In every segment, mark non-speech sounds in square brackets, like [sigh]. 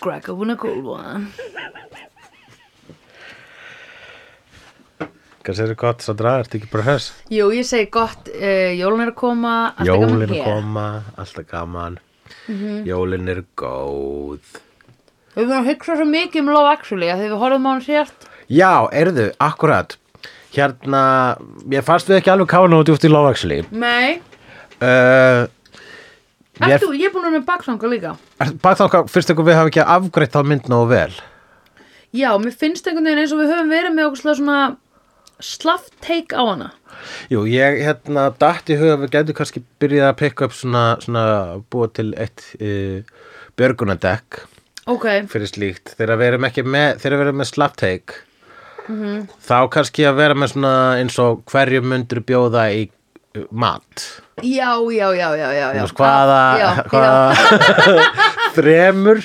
crack open a cold one. Hvað segir gott svo draga, ertu ekki bara hörs? Jú, ég segi gott, uh, jólun er að koma, allt er gaman Jólin hér. Mhm. koma, alltaf gaman Jólin er góð Við erum að hugsa svo mikið um Love Actually að þegar við horfum á hann sért. Já, erðu, akkurat Hérna, ég fannst við ekki alveg kafa nót út í Love Actually Nei, uh, ég Mér- er, ég er búin að vera með baksanga líka. Bara þá, fyrst ykkur við hafa ekki afgreitt þá mynd nógu vel Já, mér finnst einhvern veginn eins og við höfum verið með okkur svona slaft take á hana. Jú, ég hérna datt í huga að við gætu kannski byrjað að pikka upp svona, svona búa til eitt e, björgunadekk Ok, fyrir slíkt þegar við erum ekki með, þegar við erum með slappteik þá kannski að vera með svona eins og hverju myndur bjóða í eh, mat já, já, já, já, já. já. Þú veist, hvaða, já, já, hvaða [laughs] þremur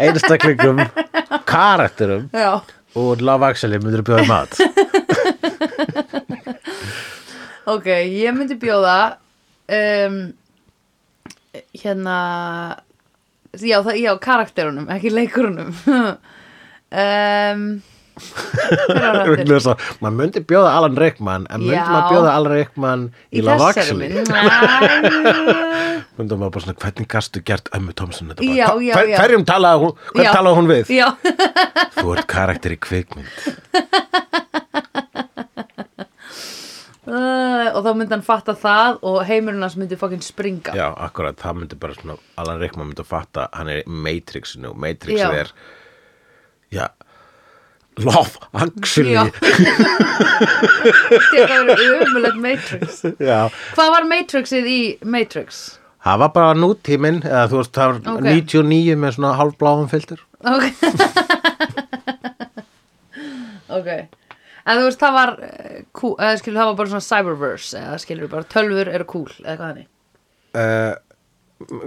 einstaklingum karakterum já. og Love Actually myndur bjóða í mat [laughs] Ok, ég myndi bjóða um, hérna já, það, já, karakterunum, ekki leikurunum [laughs] um, hver á rættir? Vegna þess að maður myndi bjóða Alan Rickman en myndi Já. maður bjóða Alan Rickman í, Love Actually mynd myndum maður bara svona hvernig gastu gert ömmu Thompson þetta Já, bara, já, hver, já. hverjum talaði hún, hver Já. talaði hún við Já, þú ert karakter í kvikmynd uh, og þá myndi hann fatta það og heimurinn hans myndi fucking springa já, akkurat, það myndi bara svona Alan Rickman myndi að fatta, hann er í Matrixinu og Matrix Já. er já, Love Actually Já. já, [laughs] Þetta verður umulegt Matrix Hvað var Matrixið í Matrix? það var bara nútíminn eða þú veist, það var Ok. 99 með svona hálfbláum filter Ok Ok En þú veist, það var eh, kú, eða skilur, það var bara svona cyberverse eða skilur, bara tölfur eru cool eða hvað þannig. uh,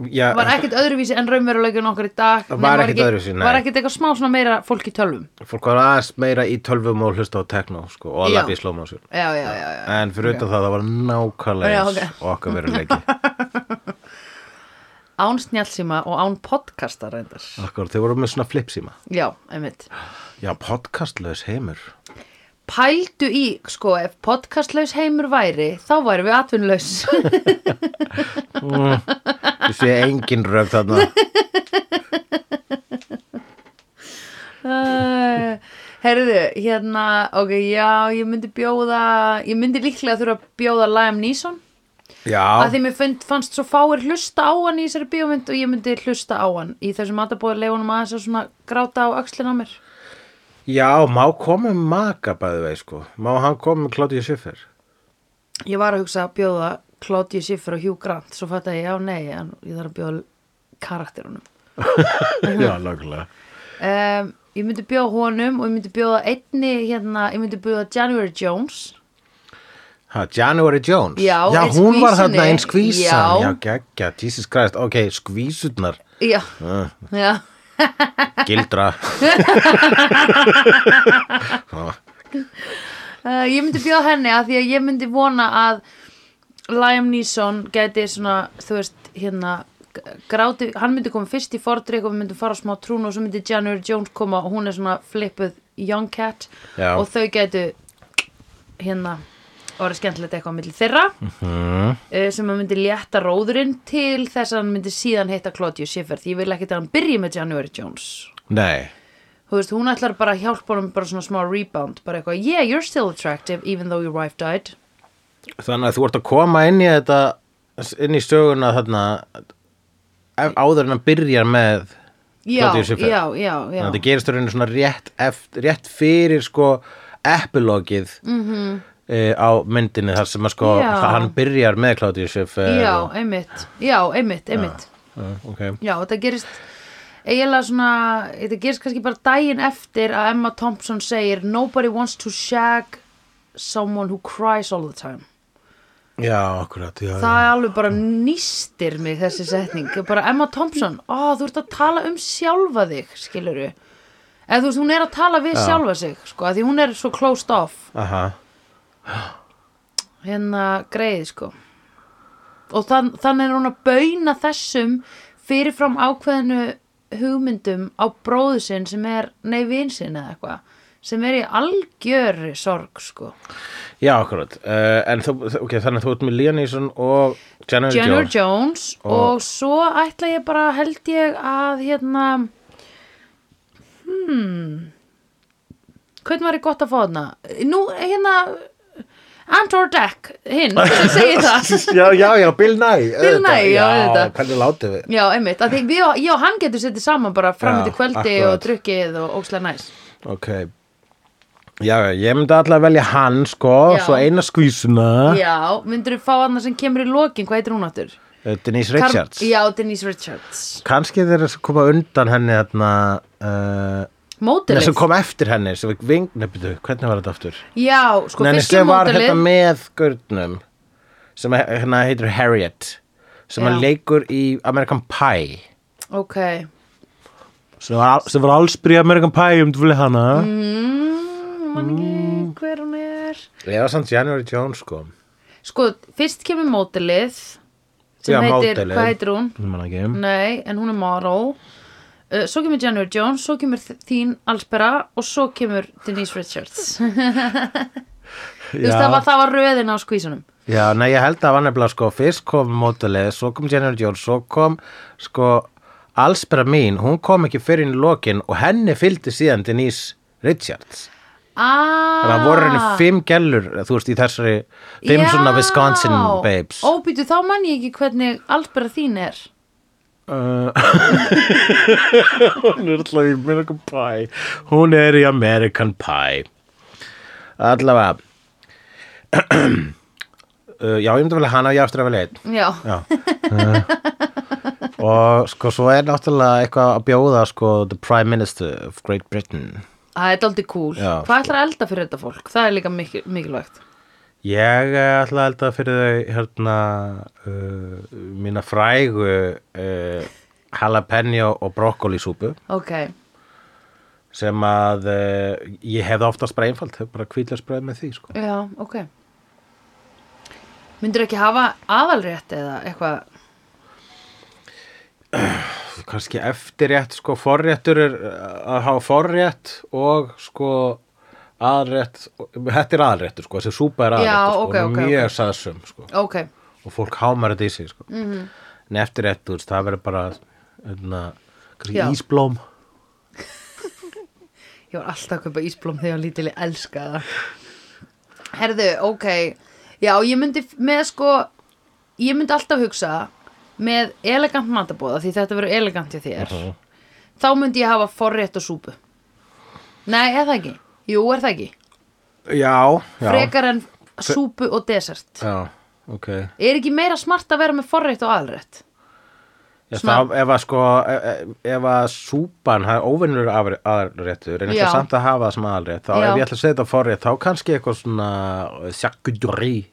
já, Það var ekkert öðruvísi en raunveruleikin okkar í dag Það nema var ekkert öðruvísi, nei. Var ekkert eitthvað smá svona meira fólk í tölvum fólk var aðeins meira í tölvum og hlusta á techno sko, og að Já. lappa í slow motion Já, já, já, já. En fyrir utan það, það var nákvæmlega eins Já, og okkar [laughs] veruleiki. Án snjálsíma og án podcasta reyndar Akkur, þau voru með svona flipsíma. Já, einmitt Já, podcastlaus heimur. Pældu í, sko, ef podcastlaus heimur væri þá væri við atvinnlaus Þú sé engin röf [laughs] þarna. Uh, Herðu, hérna, ok, já, ég myndi bjóða, ég myndi líklega þurfa að bjóða Liam Neeson að Já, því mér fund, fannst svo fáir hlusta á hann í þessari bíómynd og ég myndi hlusta á hann í þessum matabóði leifunum aðeins að svona gráta á öxlin á mér. já, má koma með maka bæði vei, sko. Má hann koma með Claudia Schiffer. Ég var að hugsa að bjóða Claudia Schiffer og Hugh Grant, svo fætti ég, já, nei, en ég þarf að bjóða karakterunum. já, laglega. Um, ég myndi bjóða honum og ég myndi bjóða einni, hérna, ég myndi bjóða January Jones. Ha, January Jones. Já, já í hún var skvísunni. þarna einn skvísan. Já. já geggja, Jesus Christ. Ok, skvísunar, Já, já. gildra. [laughs] Uh, ég myndi bjóða henni að því að ég myndi vona að Liam Neeson gæti svona, þú veist, hérna g- gráti, hann myndi koma fyrst í fordrykk og við myndum fara á smá trún og svo myndi January Jones koma og hún er svona flippuð young cat Já. og þau gætu hérna orðið skemmtilegt eitthvað á milli þeirra uh, sem að myndi létta róðurinn til þess að hann myndi síðan heita Claudia Schiffer því ég vil ekki að hann byrji með January Jones Nei, Þú veist, hún ætlar bara að hjálpa honum bara svona smá rebound, bara eitthvað, yeah, you're still attractive even though your wife died. þannig að þú ert að koma inn í þetta, inn í söguna þarna, ef- áður en að byrja með... Já, Claudia Schiffer. já, já, já. þannig að þetta gerist í rauninni svona rétt, eftir, rétt fyrir sko epilogið mm -hmm. á myndinni þar sem að sko Mhm. Já. hann byrjar með Claudia Schiffer Já, og, einmitt, já, einmitt, einmitt. uh, okay. Já, þetta gerist eiginlega svona, þetta gerist kannski bara daginn eftir að Emma Thompson segir Nobody wants to shag someone who cries all the time. já, akkurat já, já. Það er alveg bara nýstir mig þessi setning. Bara Emma Thompson, ó, þú ert að tala um sjálfa þig, skiluru. Eða þú veist, hún er að tala við sjálfa sig, sko, af því hún er svo closed off, Aha. hérna greið, sko. Og þann, þannig er hún að bauna þessum fyrirfram ákveðinu hugmyndum á bróðu sinn sem er, nei, vinsinn eða eitthvað sem er í algjöri sorg sko. Já, akkurat. Uh, en þú, ok, þannig að þú ert með Liam Neeson og Jennifer, Jennifer Jones Jones. og, svo ætla ég bara held ég að hérna hmm hvernig var ég gott að fá þarna nú hérna Andor Deck, [laughs] hinn sem segir það [laughs] já, já, já, Bill Nye. auðvitað. Nye, já, auðvitað. Hvernig látið við? Já, einmitt, að því við, og- ég og hann getur setið saman bara Já, fram til kvöldi akkurat. og drukkið og ókslega næs Ok. Já, já, ég myndi alltaf að velja hann, sko, Já. svo eina skvísuna. Já, myndur þú fá hann sem kemur í lokin, hvað heitir hún áttur? Uh, Denise Richards. Kar já, Denise Richards Kanski þeir sem koma undan henni þarna, uh, nei, Mótilið sem kom eftir henni, sem við ving, nefndu, hvernig var þetta aftur? Já, sko, Nei, nei, fyrstu sem var mótilið hérna með gurnum sem he- hérna heitir Harriet sem Já. hann leikur í American Pie Ok, sem var, al- sem var allsbyrja American Pie um þú vilja hana mm, mann ekki hver hún er Ég var samt January Jones sko Sko, fyrst kemur mótilið sem Já, heitir, módelið. hvað heitir hún? Ég man ekki. Nei, en hún er model Uh, svo kemur Jennifer Jones, svo kemur þ- þín Alspera og svo kemur Denise [laughs] Richards Þú veist, það var, Já, það var röðin á skvísunum já, nei, ég held að það var nefnilega sko fyrst kom mótilið, svo kom January Jones svo kom sko allsbyrja mín, hún kom ekki fyrir inn í lokin og henni fylgdi síðan Denise Richards Ah, Þannig að voru henni fimm gellur, þú veist, í þessari fimm svona Wisconsin babes. Óbýtu, þá man ég ekki hvernig Alspera þín er Uh, [laughs] hún er alltaf í American Pie. Hún er í American Pie. Allavega. [clears throat] uh, já, ég myndi vel að hana og ég aftur að vel einn. Já, Já. Uh, og sko, svo er náttúrulega eitthvað að bjóða, sko, the Prime Minister of Great Britain. það er aldrei cool Já, Hvað ætlar að elda fyrir þetta fólk? Það er líka mikil, mikilvægt Ég eh, ætla að elda fyrir þau hérna uh, mína frægu uh, jalapeno og brokkolisúpu Ok, sem að uh, ég hefði oftast bara einfalt, hefði bara kvítlarsbræð með því sko. já, ok Myndur ekki hafa aðalrétt eða eitthvað Kannski eftirrétt sko forréttur er eh, að hafa forrétt og sko aðrétt, þetta er aðréttur sko, þessi súpa er Já, aðréttur sko, ok, hún er ok, mjög ok. okay. saðsum sko Ok, og fólk hámar þetta í sig sko. Mm Mhm. -hmm. En eftirrétt, þú veist, það verður bara, hérna, kannski Já. ísblóm. ég var alltaf að kaupa ísblóm þegar ég var lítil ég elska það Herðu, ok Já, ég myndi f- með sko Ég myndi alltaf hugsa með elegant matabóða því þetta verður elegant hjá þér Mhm. þá myndi ég hafa forrétt og súpu Nei, er það ekki? Jú, er það ekki? Já, já. Frekar en súpu og desert Já, ok. Er ekki meira smart að vera með forrétt og aðalrétt? Ég, Smá. það, ef að sko, e- e- ef að súpan hafa óvinnur aðalréttur, Já. en eitthvað samt að hafa það sem aðalrétt, þá Já. ef ég ætla að segja þetta forrétt, þá kannski eitthvað svona eh, sjakkudurri.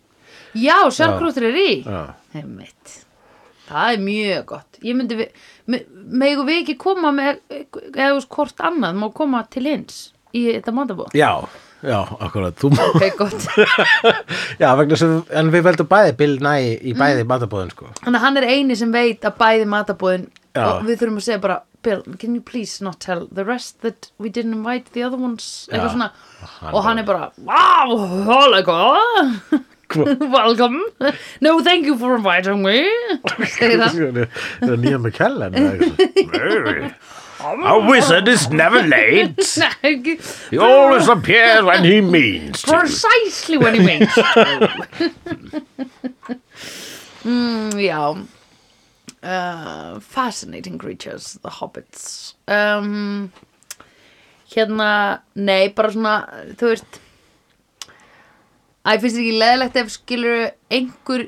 Já, sjálfgrútur er í Já. Einmitt. Það er mjög gott Ég myndi við me- Megum við ekki koma með eða þú veist, hvort annað má koma til hins í þetta matabó Já, já, akkurat, þú má, Ok, gott já, vegna sem, en við veldum bæði Bill Nye í bæði mm. matabóðin, sko. Þannig að hann er eini sem veit að bæði matabóðin Já. og við þurfum að segja bara Bill, can you please not tell the rest that we didn't invite the other ones Já. eitthvað svona Hann og hann er bara wow, hola góð [laughs] welcome no thank you for inviting me [laughs] segir það Það er nýja með kellan. [laughs] A wizard is never late. Nei, ekki. He always appears when he means to. precisely when he means to mm, já uh, fascinating creatures the hobbits um, hérna nei bara svona þú veist Æ, finnst þér ekki leðilegt ef skilur einhver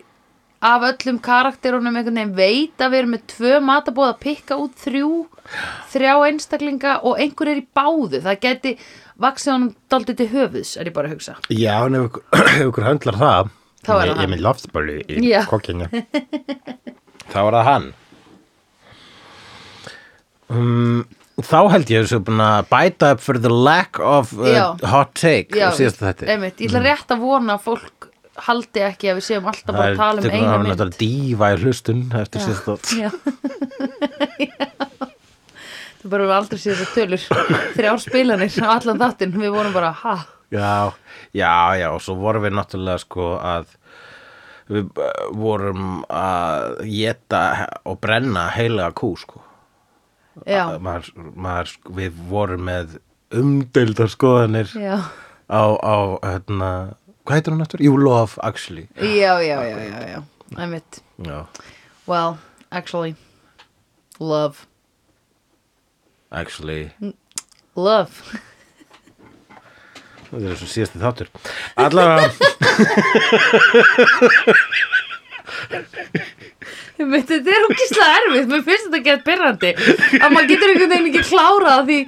af öllum karakterunum einhvern veginn veit að við erum með tvö matabóð að pikka út þrjú, þrjá einstaklinga og einhver er í báðu. Það geti vaksið honum daldið til höfuðs, er ég bara að hugsa. Já, en ef ykkur- [clears throat] ef ykkur höndlar það Þá er það Ég- Ég hann. minn loftbölu í Já. [laughs] kokkinu Þá er það hann um, Þá held ég þessu búin að bæta upp fyrir the lack of uh, Já. hot take á síðasta Mm. veist, þetta einmitt, ég ætla rétt að vona að fólk haldi ekki að við séum alltaf bara að tala um eina Það er mynd. þetta dífa í hlustun eftir síðasta þátt. Já. [laughs] Þú bara voru aldrei séð þessar tölur Þrjár spilanir á allan þáttinn Við vorum bara, ha, Já, já, já, og svo vorum við náttúrulega sko að við eh, vorum að geta og brenna heilaga kú sko. já, Að Ah, Maður, maður, sko, við vorum með umdeildar skoðanir já á, á, hérna, hvað heitir hún náttúrulega? You love actually. Já, já, já, já, já Æmitt, Já, well, actually Love, actually. love [laughs] Það er svo síðasti þáttur. Allavega, Einmitt, Þetta er ógislega erfið, mér finnst þetta gett pyrrandi að maður getur einhvern veginn ekki klárað af því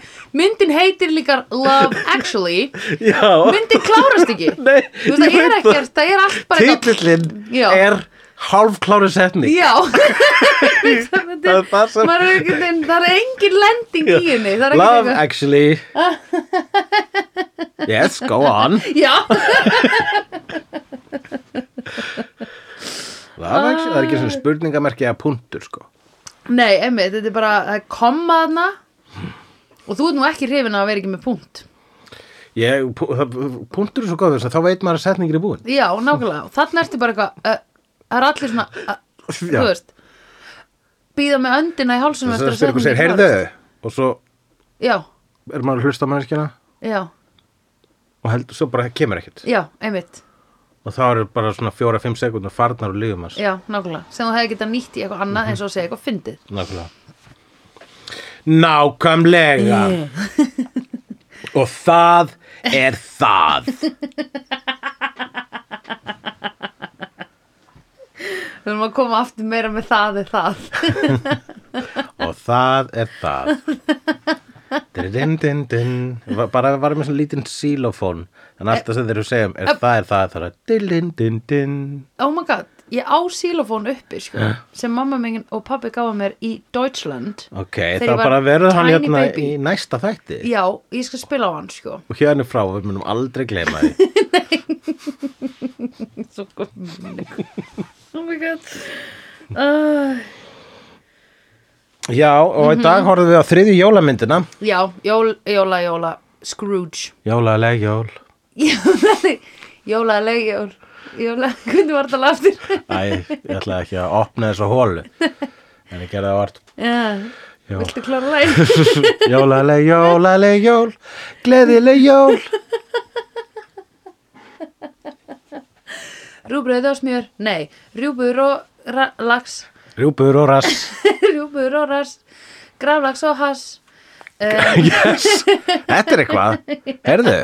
myndin heitir líka Love Actually [laughs] já, myndin klárast ekki Nei, Þú veist, ég það er veit það. ekkert, það er allt bara eitthvað- titillinn Já. er hálfkláru setning. Já [laughs] Það Það er það sem- maður er einhvern veginn- Það er engin lending í henni Það er Love ekkert [laughs] actually. yes, go on. Já, Love actually, það er ekki Ah. svona spurningamerki eða punktur sko. nei, emmi, þetta er bara það er kommaðna og þú ert nú ekki hrifin að vera ekki með punkt Ég, pu- það- punktur er svo góður þess að þá veit maður að setningir er búin. Já, nákvæmlega, og þarna ertu bara eitthvað uh, Það er allir svona, uh, Já. þú veist Býða með öndina í hálsum Þess að þegar ykkur segir, heyrðu, og svo Já, er maður að hlusta á manneskjana já, og heldur, svo bara kemur ekkert. já, einmitt Og þá eru bara svona fjóra-fimm sekundar farnar og lífum hans. Já, nákvæmlega, sem þú hefði getað nýtt í eitthvað Mhm. annað eins og að segja eitthvað fyndið Nákvæmlega. Nákvæmlega. Mm. og það er það. Við erum að koma aftur meira með það eða það Og það er það. Din, din, din. Bara varum með svona lítinn xílófón. Þannig að alltaf sem þeir eru að segja um, er það er það, það er það. Din, din, din. [laughs] Oh my god, ég á sílofón uppi sko, sem mamma minn og pabbi gáða mér í Deutschland Ok, Þegar það ég var bara verður hann tiny hérna baby. í næsta þætti. Já, ég skal spila á hann sko Og hérna frá, við munum aldrei gleyma því. Svo gott minni. Oh my god uh, Já, og Mhm. í dag horfum við á þriðju jólamyndina. Já, jól, jóla, jóla Scrooge Jólaleg jól. Jóla, jóla, legjól Jóla, hvernig var þetta aftur? Æ, ég ætla ekki að opna þessu hólu. En ég gerði það vart. Já, Já. viltu klára læg? [laughs] Jólaleg, jólaleg jól, gleðileg jól. Rúbröð og smjör, nei Rjúbur og ra- lax [laughs] Rjúpur og rass. [laughs] Rjúbur og rast Graflax og hass yes, þetta er eitthvað Herðu,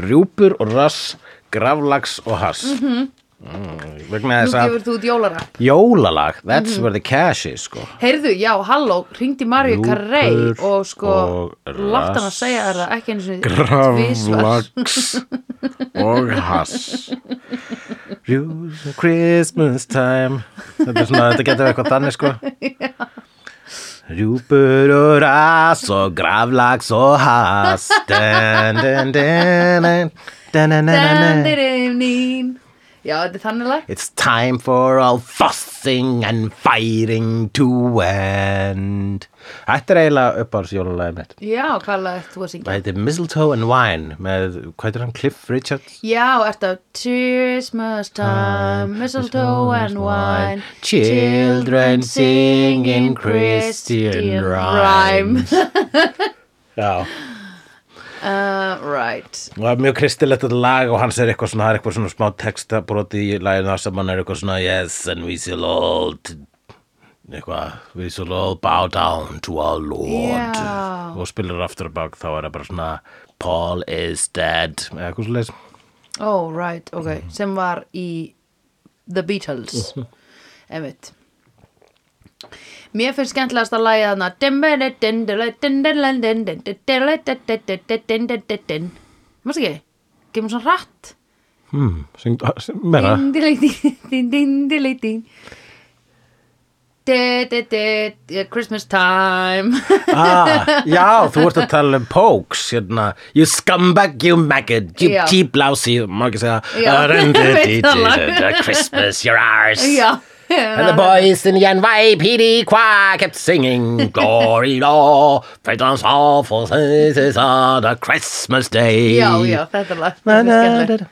rjúpur og rass graflags og hass mm -hmm. vegna Mhm. Nú þess að gefur Mhm. þú út jólarap jólalag that's where the cash is sko Heyrðu, já, halló, hringdi Maríu Rúpur Karrey og sko, og látt hann að rass. segja þér það ekki einu sinni tvisvar. graflags og hass Rjú- Christmas time þetta, er svona, þetta getur verið eitthvað þannig sko Rjúpur og rass og graflags og hass den, den, den, den, den, den, den, den, den. Dandirinnín. Já, þetta er þannig lag. It's time for all fussing and fighting to end. Þetta er eiginlega uppáhalds jólulegið mitt. Já, hvað lag ert þú að syngja? Það heitir Mistletoe and Wine með, hvað heitir hann, Cliff Richards? Já, ertu að Christmas time, mistletoe and wine Children sing in Christian [laughs] rhymes. Já, Uh, right. og það er mjög kristilegt þetta lag og hans er eitthvað svona, það er eitthvað svona smá textabróti í laginu þar sem hann er eitthvað svona Yes, and we shall all, t- eitthvað, we shall all bow down to our Lord. Já. og spilar aftur á bak þá er það bara svona Paul is dead eða eitthvað svo leys Oh, right, ok, sem var í The Beatles Einmitt Mér finnst skemmtilegast að lægja þarna Mást ekki? Gemur svona rætt hmm, syng, syng, meira Dindileitin Christmas time ah, já, þú ert að tala um Pokes hérna, you scumbag, you maggot you Já. cheap lousy, má ekki segja Já. "Ah, rendi, Veit di, di, það di, lag. di, Christmas, your arse Já, And the boys in the NYPD choir kept singing Glory Law, Freedman's awful faces on a Christmas day. Já, já, þetta lag Na, þetta er na, skemmtilegt. da,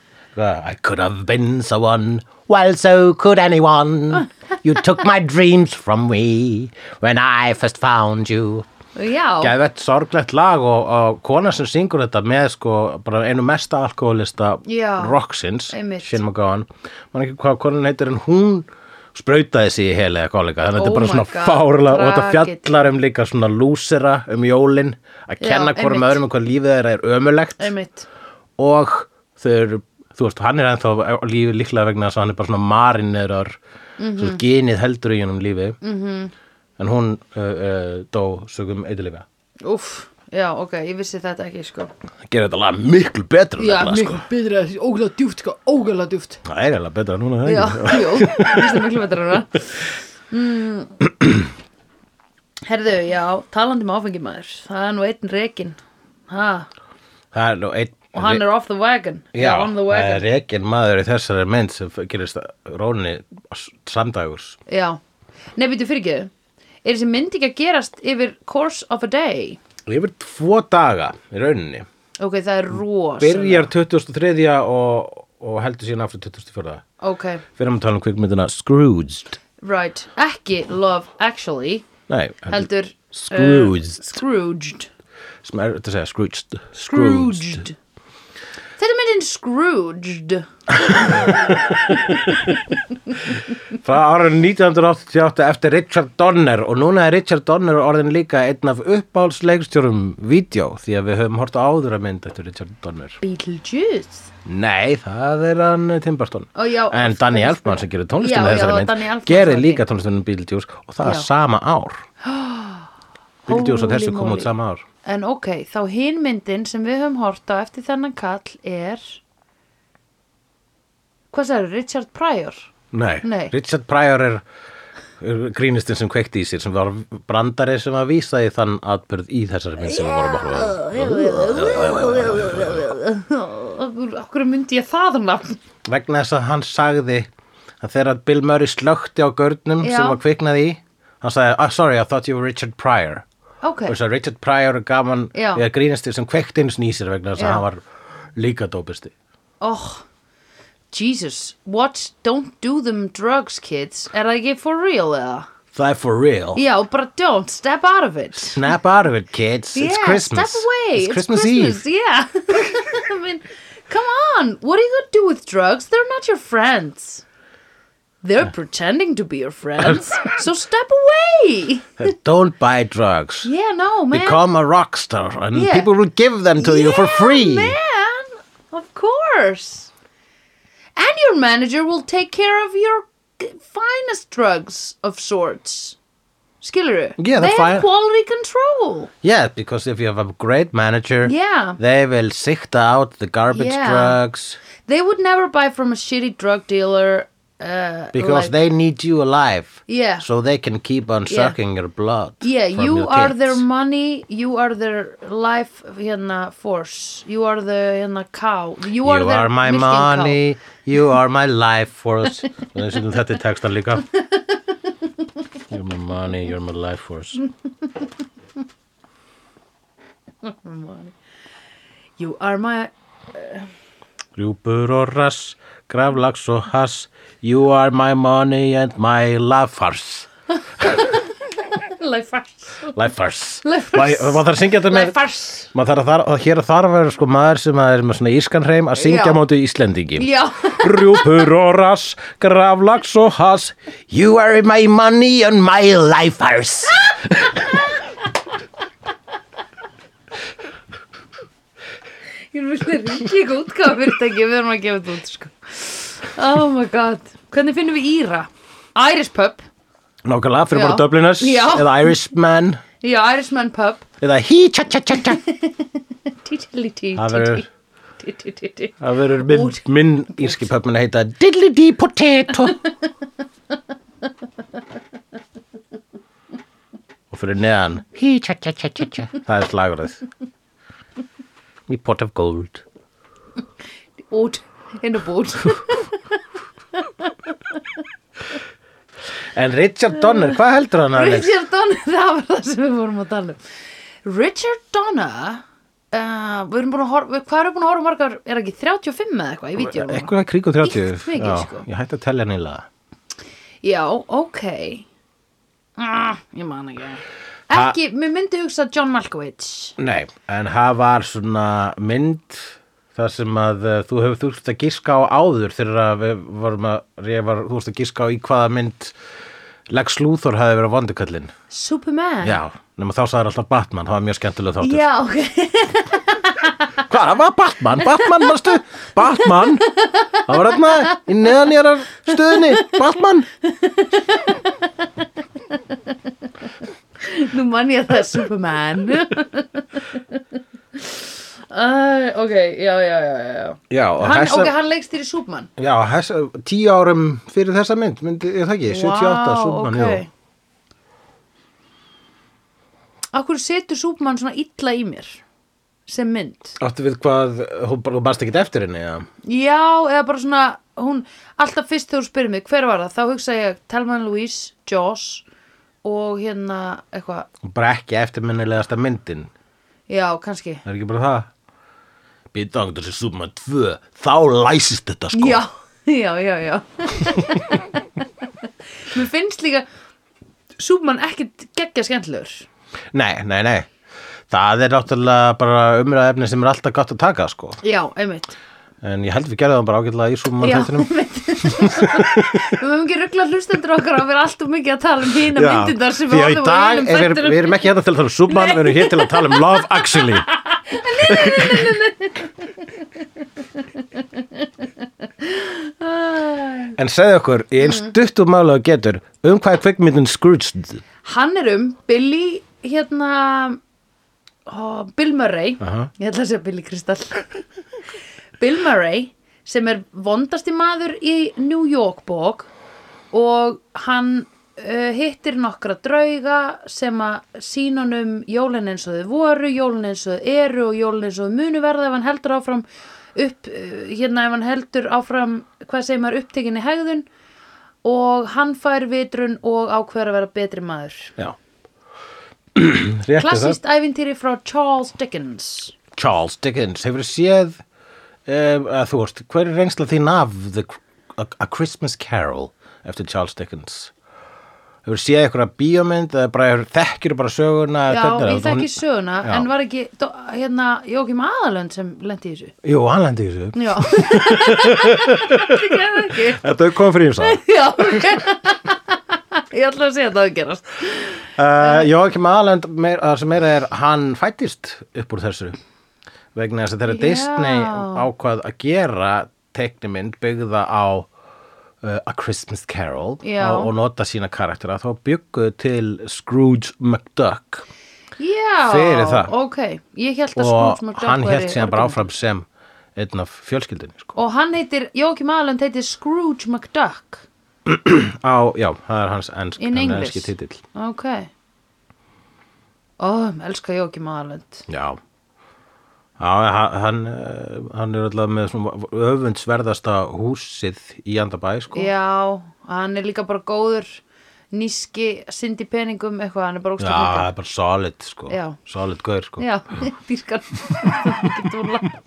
da. I could have been someone. Well, so could anyone. You took my dreams from me when I first found you. Já, Gæðvett sorglegt lag og, og kona sem syngur þetta með sko bara einu mesta alkoholista Já, rocksins, einmitt. Shin McGowan man ekki hvað konan heitir en hún sprautaði sig í heli eða kollega þannig að Oh þetta er bara my svona God, fárlega og þetta tragill. fjallar um líka svona lúsera um jólin að Já, kenna hvorum einmitt. öðrum um hvað lífið þeirra er ömulegt einmitt og þau eru þú veist, hann er ennþá á lífi líklega vegna þess að hann er bara svona marinn eðrar mm Mhm. -hmm. svo genið heldur í hennum lífi -hmm. en hún uh, uh, dó sögum eitthvað Úff, já, ok, ég vissi þetta ekki, sko gera þetta lag miklu betra Já, nefnilega, miklu sko. betra, ógæðlega djúft, sko, ógæðlega djúft það er eiginlega betra núna það er Já, ekki? jú, ég finnst það miklu betra núna mm. Herðu, já, talandi um áfengi maður Það er nú einn rekin ha, það er nú einn Og hann er off the wagon já, on the það er wagon rekin maður í þessari mynd sem gerist róni samdægurs Já, nei, býttu fyrir Er þessi mynd ekki að gerast yfir course of a day? yfir tvo daga í rauninni Ok, það er rosa byrjar 2003 og, og heldur síðan aftur 2004 Ok, fyrir að tala um kvikmyndina Scrooged right, ekki Love Actually nei, heldur Scrooged. uh, Scrooged sem er þetta að segja Scrooged Scrooged Þetta er myndin Scrooged frá árið 1988 eftir Richard Donner og núna er Richard Donner orðin líka einn af uppáhaldsleikstjórum vídeo því að við höfum hort á áður að mynd eftir Richard Donner Beetlejuice Nei, það er hann eh, Tim Burton Ó, já, en of Danny course. Elfman sem gerir Já, tónlistina já, þessari og Danny Elfman mynd gerir sagði. líka tónlistina Beetlejuice og það er sama [gasps] ár Beetlejuice og Holy þessu kom moly. út sama ár En ok, þá hin myndin sem við höfum hort á eftir þennan kall er Hvað sagði, Richard Pryor? Nei. Nei. Richard Pryor er er grínistinn sem kveikti í sér sem var brandari sem að vísa í þann atbyrð í þessari mynd sem við vorum að horfa á. Okkur okkur myndi ég það nafn vegna þess að hann sagði að þegar Bill Murray slökti á görnum Já. sem var kviknaði í hann sagði, oh, sorry, I thought you were Richard Pryor Ok, og þess að Richard Pryor er gaman Já. eða grínistinn sem kveikti eins nýsir vegna þess Já. að hann var líka dópisti oh Jesus, what, don't do them drugs kids Er það ekki for real eða? það er for real Já, bara don't, step out of it snap out of it kids, it's yeah, Christmas Step away. it's, Christmas, Eve Yeah. [laughs] I mean, come on. What are you going to do with drugs? They're not your friends. They're pretending to be your [laughs] friends. so step away. [laughs] don't buy drugs Yeah, no, man. become a rock star and Yeah. people will give them to you for Yeah, free man. Of course. And your manager will take care of your g- finest drugs of sorts. Skilleru. Yeah, they the have fi- quality control. yeah because if you have a great manager Yeah. they will sift out the garbage Yeah. drugs They would never buy from a shitty drug dealer. Uh, because like- they need you alive Yeah. so they can keep on Yeah. sucking your blood Yeah, from you your are kids. their money, you are their life hérna, force, you are the hérna, cow, you, you are, are, their my milking cow. money [laughs] you are my life force og þessi þetta er textan líka you're my money, you're my life force You are my, Rjúpur og rass, graflags og hass You are my money and my life force [laughs] life force, Life force Life Maður maður þarf að syngja þetta life með force, Maður þarf að þar, og hér þarf að vera sko maður sem að er með svona ískan hreim að syngja Já. á móti Íslendingi já, Rjúpur og rass, graflags og hass You are my money and my life force [laughs] ég er vilja ríkja ekki útgáð fyrirtæki, við erum að gefa þetta út, sko. Oh my god, hvernig finnum við Íra? Irish pub, Nákvæmlega, fyrir Já. bara Dubliners Já. eða Irishman já, Irishman pub, eða hí tja tja tja tja títili tí, Það verður- tí, tí, tí, tí. Það verður minn, minn írski pöpmin að heita Diddly Dee Potato Og fyrir neðan Hí tja tja tja tja tja Það er slagurðið Me pot of gold Út, inn og bút. En Richard Donner, hvað heldur hann að hann er? Richard Donner, [laughs] það var það sem við vorum að tala um Richard Donner uh, við erum búin að horfa hvað erum við búin að horfa margar, er það ekki 35 eða eitthvað í vídeo? Eitthvað hann kríku 30 Íkt mikið, Já, sko. Ég hætti að tellja hann ílega Já, ok ah, ég man ekki ekki, mér myndi hugsa John Malkovich Nei, en það var svona mynd þar sem að uh, þú hefur þurft að giska á áður þegar að við vorum að ég var þú veist að giska á í hvaða mynd Lex Luthor hafi verið á vondukallin Superman Já, nema þá sagði alltaf Batman, það var mjög skemmtilega þáttur Já, ok, Hvað, það var Batman, Batman manstu Batman, það var þarna í neðanjarar stöðinni Batman, [laughs] nú man ég að það er [laughs] Superman uh, Ok, já, já, já, já, já. já, og Hann, þessa- ok, hann leikst þér í Superman Já, hess, tíu árum fyrir þessa mynd, myndi ég það ekki, 78, Súbmann, ok. Akkur setur Súbmann svona illa í mér sem mynd? jú. Áttu við hvað, hún bara þú barst ekkit eftir henni, já. Já, eða bara svona, hún, alltaf fyrst þegar hún spyrir mig, hver var það? Þá hugsa ég Telma Louise, Joss og hérna eitthvað, Hún bara ekki eftirminnilegasta myndin, já, kannski. það er ekki bara það. Býta á þessi Súbmann 2, þá læsist þetta sko. Já, [laughs] já, já, já. [laughs] Mér finnst líka Súbmann ekkit geggja skemmtilegur. Nei, nei, nei. Það er náttúrulega bara umræðefni sem er alltaf gott að taka sko. Já, einmitt. En ég held við gerðum það bara ágætlega í Súbmann [laughs] þettinum. einmitt. við höfum ekki ruggla hlustendur okkar að vera alltaf mikið að tala um hína myndindar sem því að í orðið dag, hinum er- við erum, þættinum. við erum ekki hérna til að tala um Súbmann, við [laughs] erum hér til að tala um Love Actually. Æ. En segðu okkur, í einn Mm. stuttum mála og getur, um hvað er kvikmyndin Scrooge? Hann er um Billy hérna ó, Bill Murray Aha. ég ætla að segja Billy Kristall Bill Murray sem er vondasti maður í New York bók og hann uh, hittir nokkra drauga sem að sínunum jólin eins og þau voru, jólin eins og þau eru og jólin eins og þau munu verða ef hann heldur áfram upp, uh, hérna ef hann heldur áfram, hvað segir maður, upptekinni hegðun og hann fær vitrun og ákveður að vera betri maður. Já. [clears throat] Rétt er það. Klassist ævintýri frá Charles Dickens. Charles Dickens, hefur séð, um, að þú veist, hver er reynsla þín af the, a, a Christmas Carol eftir Charles Dickens? Hefur séð eitthvað bíómynd, eða bara hefur þekkir bara söguna? Já, hvernig er ég það? Hún- þekki söguna, Já. en var ekki, dó- hérna, Jókim Aðalönd sem lendi í þessu. Jú, hann lendi í þessu. [laughs] Já, þetta gerði ekki. Þetta er komið fyrir ímsa. Já, ok. [laughs] Ég ætla að segja að það hafi gerast. Uh-huh. Uh, Jóakim Aland meir, það sem meira er hann fættist upp úr þessu vegna þess að þegar Já. Disney ákvað að gera teiknimynd byggða á uh, A Christmas Carol Já. og, og nota sína karaktera þá bygguðu til Scrooge McDuck Já, Fyrir það. ok. Ég held að og Scrooge McDuck hann væri hélt síðan bara orginal. áfram sem einn af fjölskyldinni sko. Og hann heitir, Jókim Aðalönd heitir Scrooge McDuck. á, já, það er hans ensk, In hann English. enski titill Ok. Ó, oh, elskar Jókim Aðalönd. Já, já ha- hann, eh, hann er alltaf með svona öfundsverðasta húsið í Andabæ, sko. Já, hann er líka bara góður níski, syndi peningum eitthvað, hann er bara Já, ógstæð það er bara solid, sko. Já. Solid gaur, sko. Já, [laughs] dýrkan getur hún látt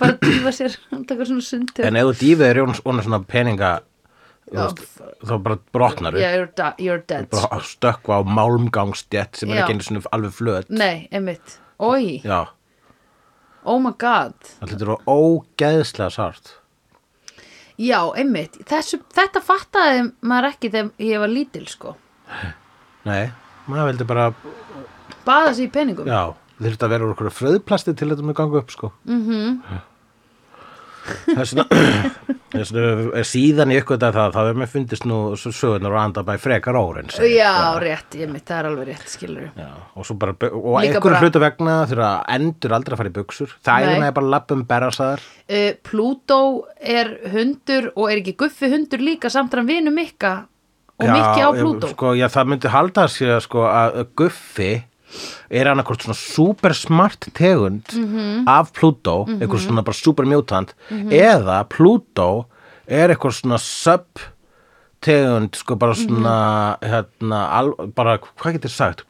bara að dýfa sér, hann takkar svona sundu En ef þú dýfið er svona svona peninga, þú veist, þá bara brotnar upp. Yeah, you're, da- you're dead Bara stökkva á málmgangstjett sem er Já. ekki einu svona alveg flöt. Nei, emitt, oi, Já, oh my god það hlutur á ógeðslega sárt. Já, emitt, Þessu, þetta fattaði maður ekki þegar ég var lítil sko Nei, maður veldi bara, Baða sér í peningum já, þurfti að vera úr okkur fröðplasti til þetta með ganga upp, sko. Mhm. þessna, [coughs] þessna, síðan ég ykkur það þá hefur mér fundist nú svo sögunar og anda bæ frekar óreins Já, Já, rétt, einmitt, það er alveg rétt, skilur Já, og svo bara, og Líka einhverju bara- hlutu vegna þurfa endur aldrei að fara í buksur það Nei. er með bara lappum berrasaðar uh, Plútó er hundur og er ekki guffi hundur líka samt er hann vinu Mikka og Mikki á Já, Plútó sko, já, það myndi halda að sé sko, að Guffi er hann eitthvað svona super smart tegund Mhm. af Plútó, mm eitthvað svona bara super mjótant eða Plútó er eitthvað svona sub tegund sko bara Mhm. svona hérna, al, bara hvað getur sagt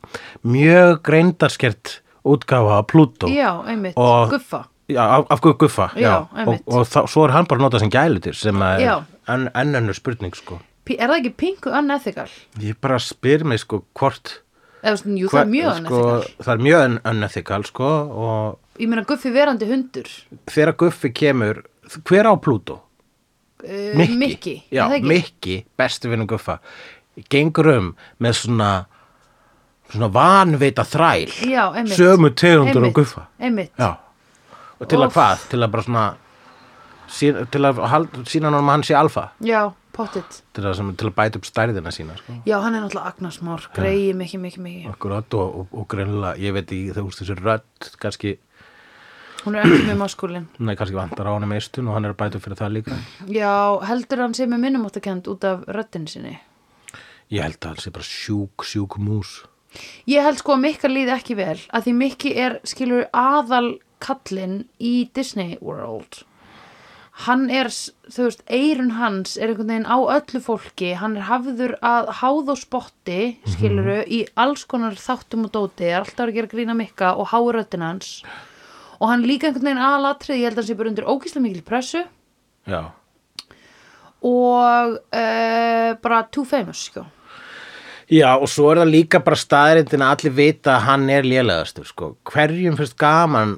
mjög greindarskert útgáfa af Plútó já, einmitt, Og- guffa Já, af, af Gu- Guffa Já, og, einmitt. og þá, svo er hann bara notað sem gælutir sem að Já. er enn en ennur spurning sko P- Er það ekki pingu unethical? ég bara spyr mig sko hvort Eða, svona, jú, það er hva- mjög sko, unethical það er mjög un- unethical sko og Ég meina guffi verandi hundur þegar Guffi kemur hver á Plútó? uh, Mikki, Mikki, er já, það ekki? Mikki, bestu vinnum Guffa gengur um með svona svona vanvita þræl Já, einmitt. sömu tegundur og Einmitt, Guffa Einmitt, já. og til Óff. að hvað? til að bara svona sína, til að hald, sína hann að hann sé alfa já, pottit til að, sem, til að bæta upp stærðina sína sko. Já, hann er náttúrulega agnarsmár, greiði mikið, mikið, mikið akkurat og, og, og greinlega ég veit ekki þú veist þessi rödd kannski, Hún er ekki með maskúlin nei, kannski vantar á hann meistun og hann er að bæta upp fyrir það líka Já, heldur hann sé með minnumáttakend út af röddinn sinni ég held að hann sé bara sjúk, sjúk mús Ég held sko að Mikka líði ekki vel að því Mikki er, skilur, aðal kallinn í Disney World Hann er, s- þú veist, eirun hans er einhvern veginn á öllu fólki hann er hafður að háð og spotti skiluru, Mhm. í alls konar þáttum og dóti, er alltaf að gera grína Mikka og háuröttin hans og hann líka einhvern veginn aðalatrið, ég held að hann sé bara undir ógíslega mikil pressu já og uh, bara too famous, sko Já, og svo er það líka bara staðrindin að allir vita að hann er lélegastur, sko. Hverjum finnst gaman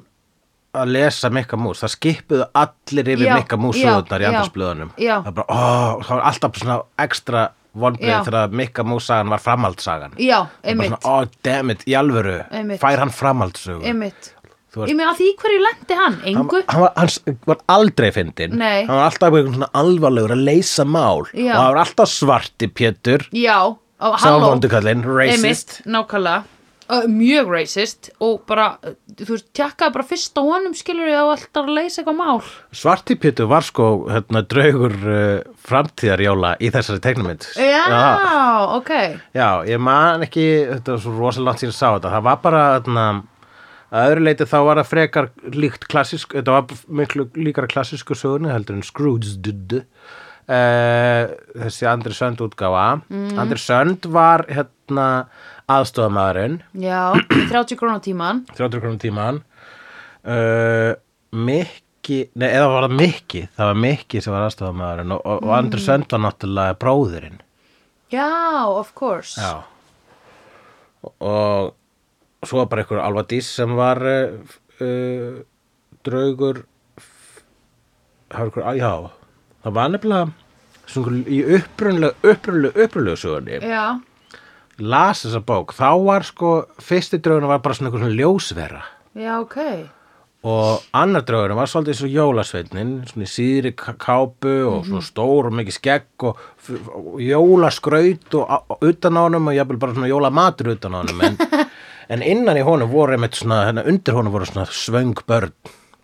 að lesa Mikka Mús? Það skipuðu allir yfir Já, Mikka Mús já, sögurnar í já, andarsblöðunum. já. Það er bara, ó, það var alltaf svona ekstra vonbreið Já. þegar að Mikka Mús sagan var framhaldssagan. Já, einmitt, Bara svona, ó, damn it, í alvöru, Einmitt. fær hann framhaldssögu. einmitt Þú veist- Ég með að því í hverju lendi hann, Hann, engu hann, var, hann var aldrei fyndin Nei. Hann var alltaf einhvern svona alvarlegur að leysa mál Já. Og hann var alltaf svarti Pétur Já, á, Sá halló vondukallinn, racist Einmitt, nákvæmlega uh, Mjög racist og bara, uh, þú veist, tjekkaði bara fyrst á honum skilur ég á alltaf að leysa eitthvað mál Svartipjötu var sko hérna, draugur uh, framtíðarjóla í þessari teiknumynd. Já, Já, ok já, ég man ekki, þetta var svo rosalega langt síðan ég sá þetta. Það var bara, hérna, að öðru leiti þá var það frekar líkt klassisk, þetta var miklu líkara klassísku sögurni heldur en Scrooge-dudd. Uh, þessi Andri Sönd útgáfa. Andri Sönd var, hérna, aðstofamaðurinn. Já, í 30 krónu tíman 300 krónum tíman uh, Mikki nei, eða var það Mikki, það var Mikki sem var aðstofamæðurinn og, og, og Andri Sönd var náttúrulega bróðurinn Já, of course og, og svo var bara einhver Alva Dís sem var uh, uh, draugur f- það var einhver, á, já það var nefnilega svona einhver- í upprunlega, upprunlega, upprunlega sögunni Já, las þessa bók, þá var sko fyrsti draugurinn var bara svona einhver svona ljósvera já, ok og annar draugurinn var svolítið eins og jólasveitnin svona í síðri k- kápu Mhm. og svona stór og mikið skegg og, f- og jólaskraut og, og utan á honum og jafnvel bara svona jólamatur utan á honum en, [laughs] en innan í honum voru einmitt svona, hérna, undir honum voru svona svöng börn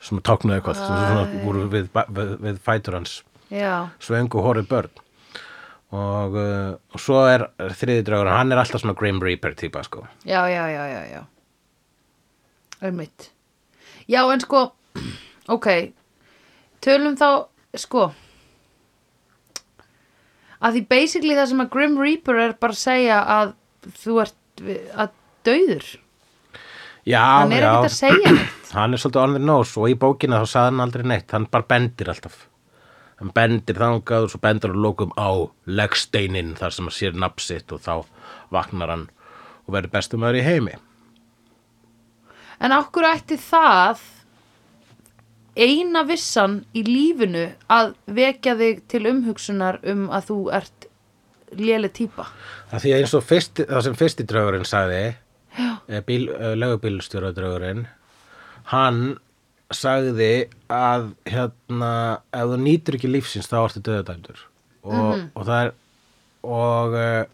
sem táknuðu eitthvað sem svona voru við, ba- við, við fætur hans Já, svöng og horið börn og, uh, og svo er þriði draugurinn, hann er alltaf svona Grim Reaper típa sko já, já, já, já, já Einmitt Já, en sko, [clears throat] ok Tölum þá, sko að því basically það sem að Grim Reaper er bara að segja að þú ert við- að dauður Já, hann er já. ekkert að segja [clears throat] neitt hann er svolítið on the nose og í bókina þá sagði hann aldrei neitt, hann bara bendir alltaf hann bendir þangað og svo bendir hann að lokum á leggsteinin þar sem hann sér nafn sitt og þá vaknar hann og verður bestum maður í heimi en okkur ætti það eina vissan í lífinu að vekja þig til umhugsunar um að þú ert léle típa það því að eins og fyrst, það sem fyrsti draugurinn sagði eh, bíl, legubílstjóra draugurinn hann sagði að hérna, ef þú nýtur ekki lífsins þá ertu döðadæmdur og, og það er og eh,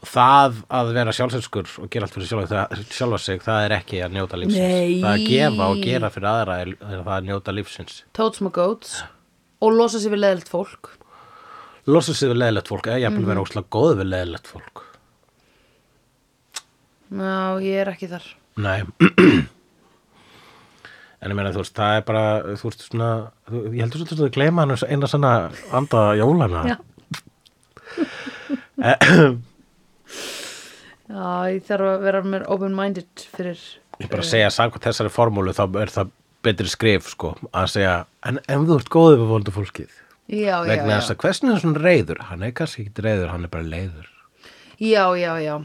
það að vera sjálfselskur og gera allt fyrir sjálfa, það, sjálfa sig það er ekki að njóta lífsins Nei. það að gefa og gera fyrir aðra er, er það að njóta lífsins toads my goats og losa sér við leðilt fólk losa sig við leðilegt fólk eða jafnvel vera óslega góð við leðilegt fólk ná, ég er ekki þar Nei [clears throat] En ég meina þú veist, það er bara þú veist svona, þú, ég heldur svolítið að gleyma hann eins- eina sanna anda jólana Já. Já, ég þarf að vera mér open-minded fyrir Ég bara að segja samkvæmt þessari formúlu þá er það betri skrif sko að segja en ef þú ert góðið við voldu fólkið Já, já, vegna já þess að hversin er svona reyður hann er kannski ekki reyður, hann er bara leiður Já, já, já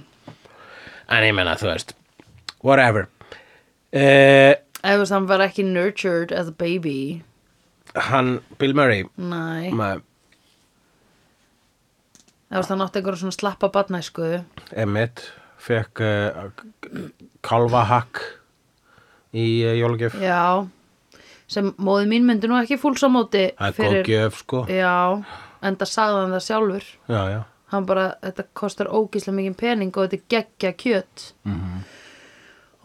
en ég menna þú veist whatever eh, Ef þess að hann var ekki nurtured as a baby hann, Bill Murray Næ ma- Ef þess að hann átti einhverjum svona slappa badnæsku Emmett fekk uh, kalvahakk í uh, jólagjöf Já Sem móði mín myndi nú ekki fúls á móti það er góð gjöf sko Já, en það sagði hann það sjálfur já, já. hann bara, þetta kostar ógíslega mikið pening og þetta er geggja kjöt -hmm. Mhm.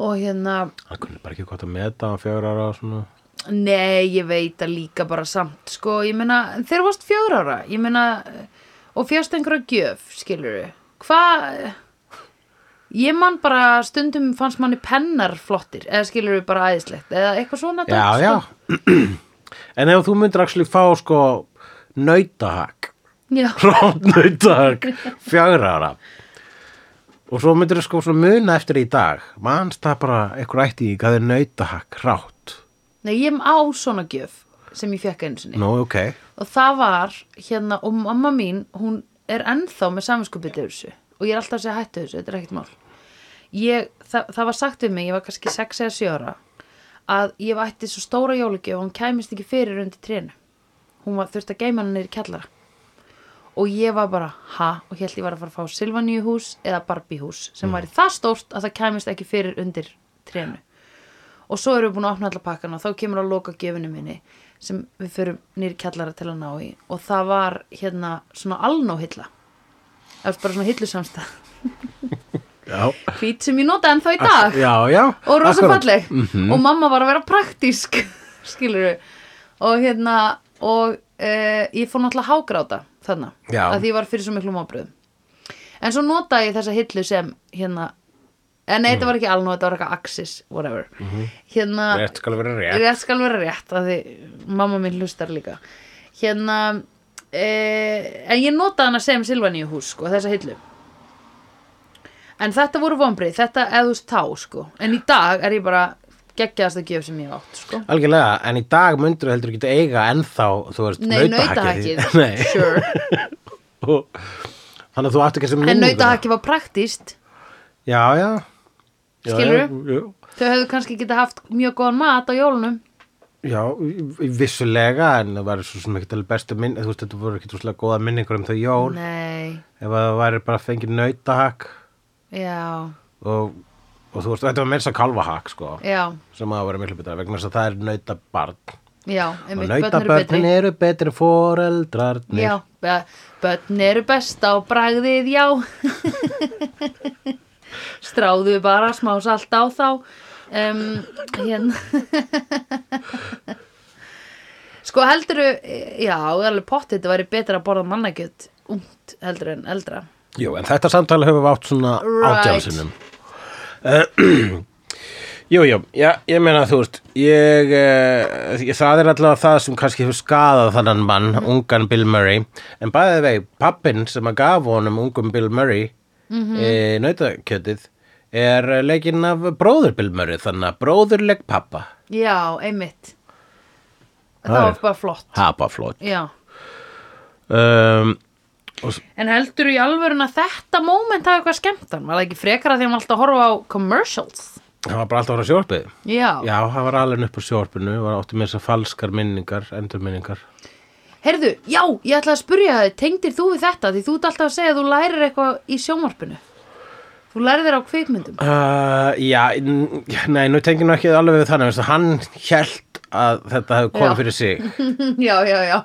og hérna hann kunni bara ekki gott að meta hann fjögur ára og svona nei, ég veit að líka bara samt sko, ég meina, þeir varst fjör ára ég meina, og fjast einhverja gjöf skilurðu, hvað ég man bara stundum fannst manni pennar flottir eða skilurðu bara æðislegt, eða eitthvað svona já, dót, já sko. [clears throat] en ef þú myndir actually fá sko nautahakk [laughs] já, rótnautahakk fjögur ára og svo myndir sko svona muna eftir í dag manst það bara einhver ætti í hvað er nautahakk rátt nei, ég á svona gjöf sem ég fekk einu sinni nú, ok, og það var hérna og mamma mín, hún er ennþá með saminskupið þessu og ég er alltaf að segja hættu þessu, þetta er ekkert mál ég, það, það var sagt við mig, ég var kannski 6 eða 7 ára að ég vætti svo stóra jólugjöf og hún kæmist ekki fyrir undir trénu hún var þurft að geima hann niður í kjallara og ég var bara, ha, og held ég var að fara að fá Silvaníu hús eða Barbie hús sem væri það stórt að það kæmist ekki fyrir undir trénu og svo erum við búin að opna alla pakkana og þá kemur að loka gefinu minni sem við förum nýri kjallara til að ná í og það var hérna svona alnóhilla það var bara svona hillusamstæð já hvít sem ég nota ennþá í dag já, já, og rosa akkurat. Mm, Mhm. falleg og mamma var að vera praktísk [laughs] skilur við og hérna og uh, ég fór náttúrulega hágráta þarna Já. að því ég var fyrir svo miklu mábröðum en svo notaði ég þessa hillu sem hérna en Mhm. nei, þetta var ekki alnú, þetta var eitthvað axis whatever hérna, rétt sko, skal vera rétt rétt skal vera rétt að því mamma mín hlustar líka hérna eh, en ég notaði hana sem Silvaníu hús sko, þessa hillu en þetta voru vombrið, þetta eðust tá sko, en í dag er ég bara geggjaðasta gjöf sem ég hef átt sko Algjörlega, en í dag myndur þú heldur ekki að eiga ennþá, þú veist, Nei, nautahakkið. nautahakið [laughs] Nei, sure. og, þannig að þú átt ekki sem en nautahakið var praktíst Já, já. Já, Skilurðu? Já, þau hefðu kannski geta haft mjög góðan mat á jólunum já, já, vissulega, en það var svo sem ekki alveg bestu minn, þú veist, þetta voru ekki trúslega góða minningur um þau jól, nei, ef að það væri bara fengið nautahakk já, og, og þú veist, þetta var meira svo kalvahakk, sko, já sem að það væri miklu betra, vegna þess að það er nautabarn. já, Og einmitt, börn eru betri nautabörnin eru betri foreldrarnir. Já, be- börn eru best á bragðið, já. Stráðu bara smá salt á þá. Um, hérna. sko heldur já, alveg pottið þetta væri betra að borða mannakjöt ungt heldur en eldra. Jú, en þetta samtala höfum við átt svona Right. átjánsinum. [clears throat] Jú, jú, já, ég meina þú veist, ég, eh, ég, það er allavega það sem kannski hefur skadað þannan mann, ungan Bill Murray, en bæðið vei, pappin sem að gaf honum ungum Bill Murray, mm -hmm. e, nautakjötið, er eh, leikinn af bróður Bill Murray, þannig að bróðurleg pappa, Já, einmitt. Það, Það er- var bara flott. hapa flott. Já. Um, og, s- En heldur í alvörun að þetta moment hafa eitthvað skemmtan? Var það ekki frekara því að maður alltaf að horfa á commercials? það var bara alltaf að vera sjórpið. Já. Já, það var alveg upp á sjórpinu, var átti með þess að falskar minningar, endurminningar. Herðu, já, ég ætla að spurja þig, tengdir þú við þetta? Því þú ert alltaf að segja að þú lærir eitthvað í sjónvarpinu. Þú lærir þér á kvikmyndum. Uh, já, n- nei, nú tengir nú ekki alveg við þannig, veist, hann held að þetta hefði komið Já. fyrir sig [laughs] já, já, já.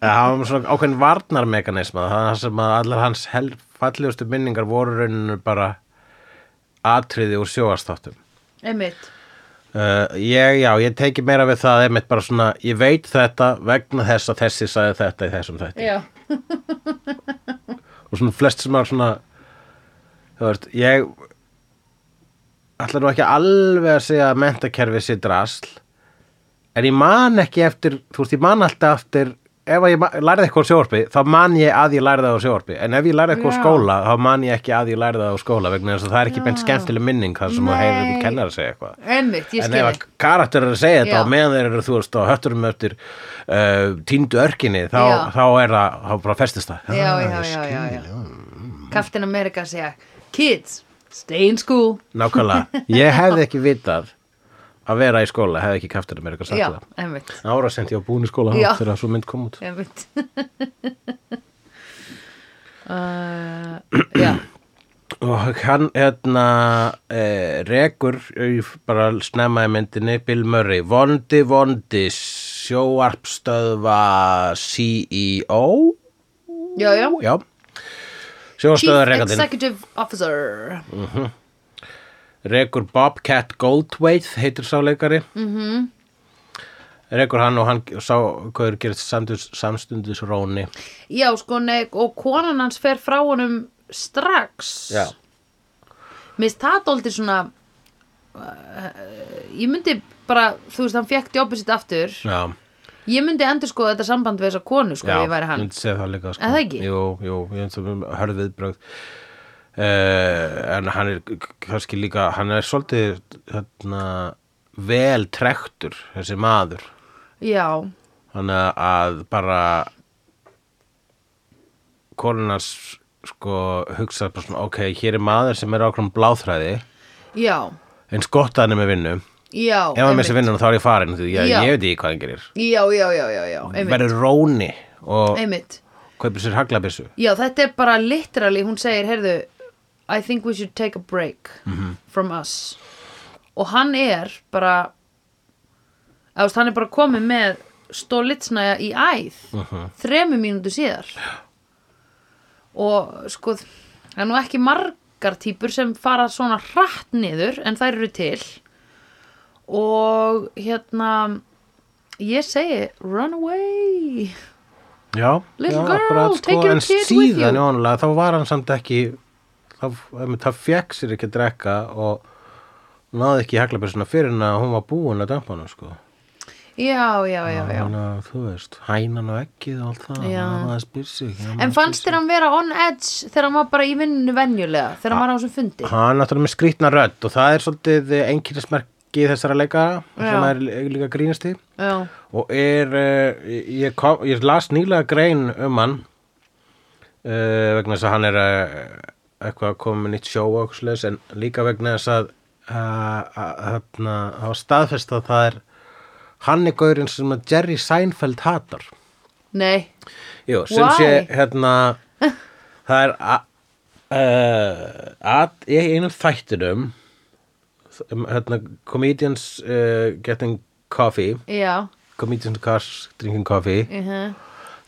það var svona ákveðin varnarmekanisma það sem að allar hans hel- fallegustu minningar voru rauninu bara atriði úr sjóastáttum Einmitt. uh, ég, já, ég tengi meira við það einmitt bara svona, ég veit þetta vegna þess að þessi sagði þetta í þessum þætti Já. og svona flest sem er svona þú veist, ég ætla nú ekki alveg að segja að mentakerfið sé drasl en ég man ekki eftir þú veist, ég man alltaf eftir ef að ég ma- lærði eitthvað á sjóvarpi þá man ég að ég lærði það á sjóvarpi en ef ég lærði eitthvað á Já. skóla þá man ég ekki að ég lærði það á skóla vegna þess að það er ekki Já. beint skemmtileg minning þar sem þú heyrir um Nei. kennar að segja eitthvað Einmitt, ég en skil ef að karakter er að segja þetta Já. og meðan þeir eru þú veist á hötturum eftir uh, tíndu örkinni þá, Já. þá er það, þá bara festist það Já, Ah, já, ég já, já, skil. já. Captain America segja Kids, stay in school nákvæmlega, ég hefði ekki vitað að vera í skóla, hefði ekki kaftur mér eitthvað sagt Já, það einmitt, ára sent ég á búinu skóla Já. þegar svo mynd kom út [laughs] einmitt. uh, Já, og hann hérna eh, rekur eh, bara snemma í myndinni Bill Murray, vondi vondi sjóarpstöðva CEO já, já E já Chief sjóarpstöðva rekandinn Executive Officer rekur Bobcat Goldthwait heitir sáleikari mm Mhm. -hmm. rekur hann og hann sá hvaður gerist samstundis, samstundis róni Já, sko, nei, og konan hans fer frá honum strax Já. Mér finnst það dóldi svona uh, Ég myndi bara, þú veist, hann fekk jobbið sitt aftur já, Ég myndi endur sko þetta samband við þessa konu, sko, ef já ég væri hann myndi segja það líka sko. Er það ekki? jú, jú, ég finnst það hörð viðbrögð uh, en hann er k- kannski líka, hann er svolítið hérna, vel trektur þessi maður Já, hann að bara konunars sko hugsa bara svona, ok, hér er maður sem er ákvæm bláþræði já, eins gott að hann er með vinnu ef já hann einmitt. með sér vinnuna þá er ég farin því ég, Já. ég veit ekki hvað hann gerir Já, já, já, já, já, einmitt, verður róni og einmitt kaupir sér haglabissu Já, þetta er bara literally, hún segir, heyrðu I think we should take a break from us og hann er bara eða, þú veist, hann er bara komið með stólitsnæja í æð þremu mínútu síðar og sko það er nú ekki margar típur sem fara svona hratt niður en þær eru til og hérna ég segi run away já, Little já, sko, girl, take your en kid with síðan you. jónulega þá var hann samt ekki þá, einmitt, það fekk sér ekki að drekka og náði ekki í haglabissuna fyrir en að hún var búin að dömpa hann sko. já, já, já, já. Þannig að, þú veist, hænan og ekkið og allt það, Já. maður spyr sig já, En maður fannst spyr sig. þér hann vera on edge þegar hann var bara í vinninu venjulega, þegar hann var á þessum fundi? hann er náttúrulega með skrýtna rödd og það er svolítið einkennismerki þessara leikara sem Já. er líka grínast í Já, og er uh, ég, kom, ég las nýlega grein um hann uh, vegna þess að hann er uh, eitthvað að koma með nýtt sjóvóksleis en líka vegna þess að uh, það var staðfest að það er hann er gaurinn sem að Jerry Seinfeld hatar nei, Jú, sem Why? sé hérna það er a- uh, að í einum þættinum um, hérna, comedians uh, getting coffee já, comedians cars drinking coffee uh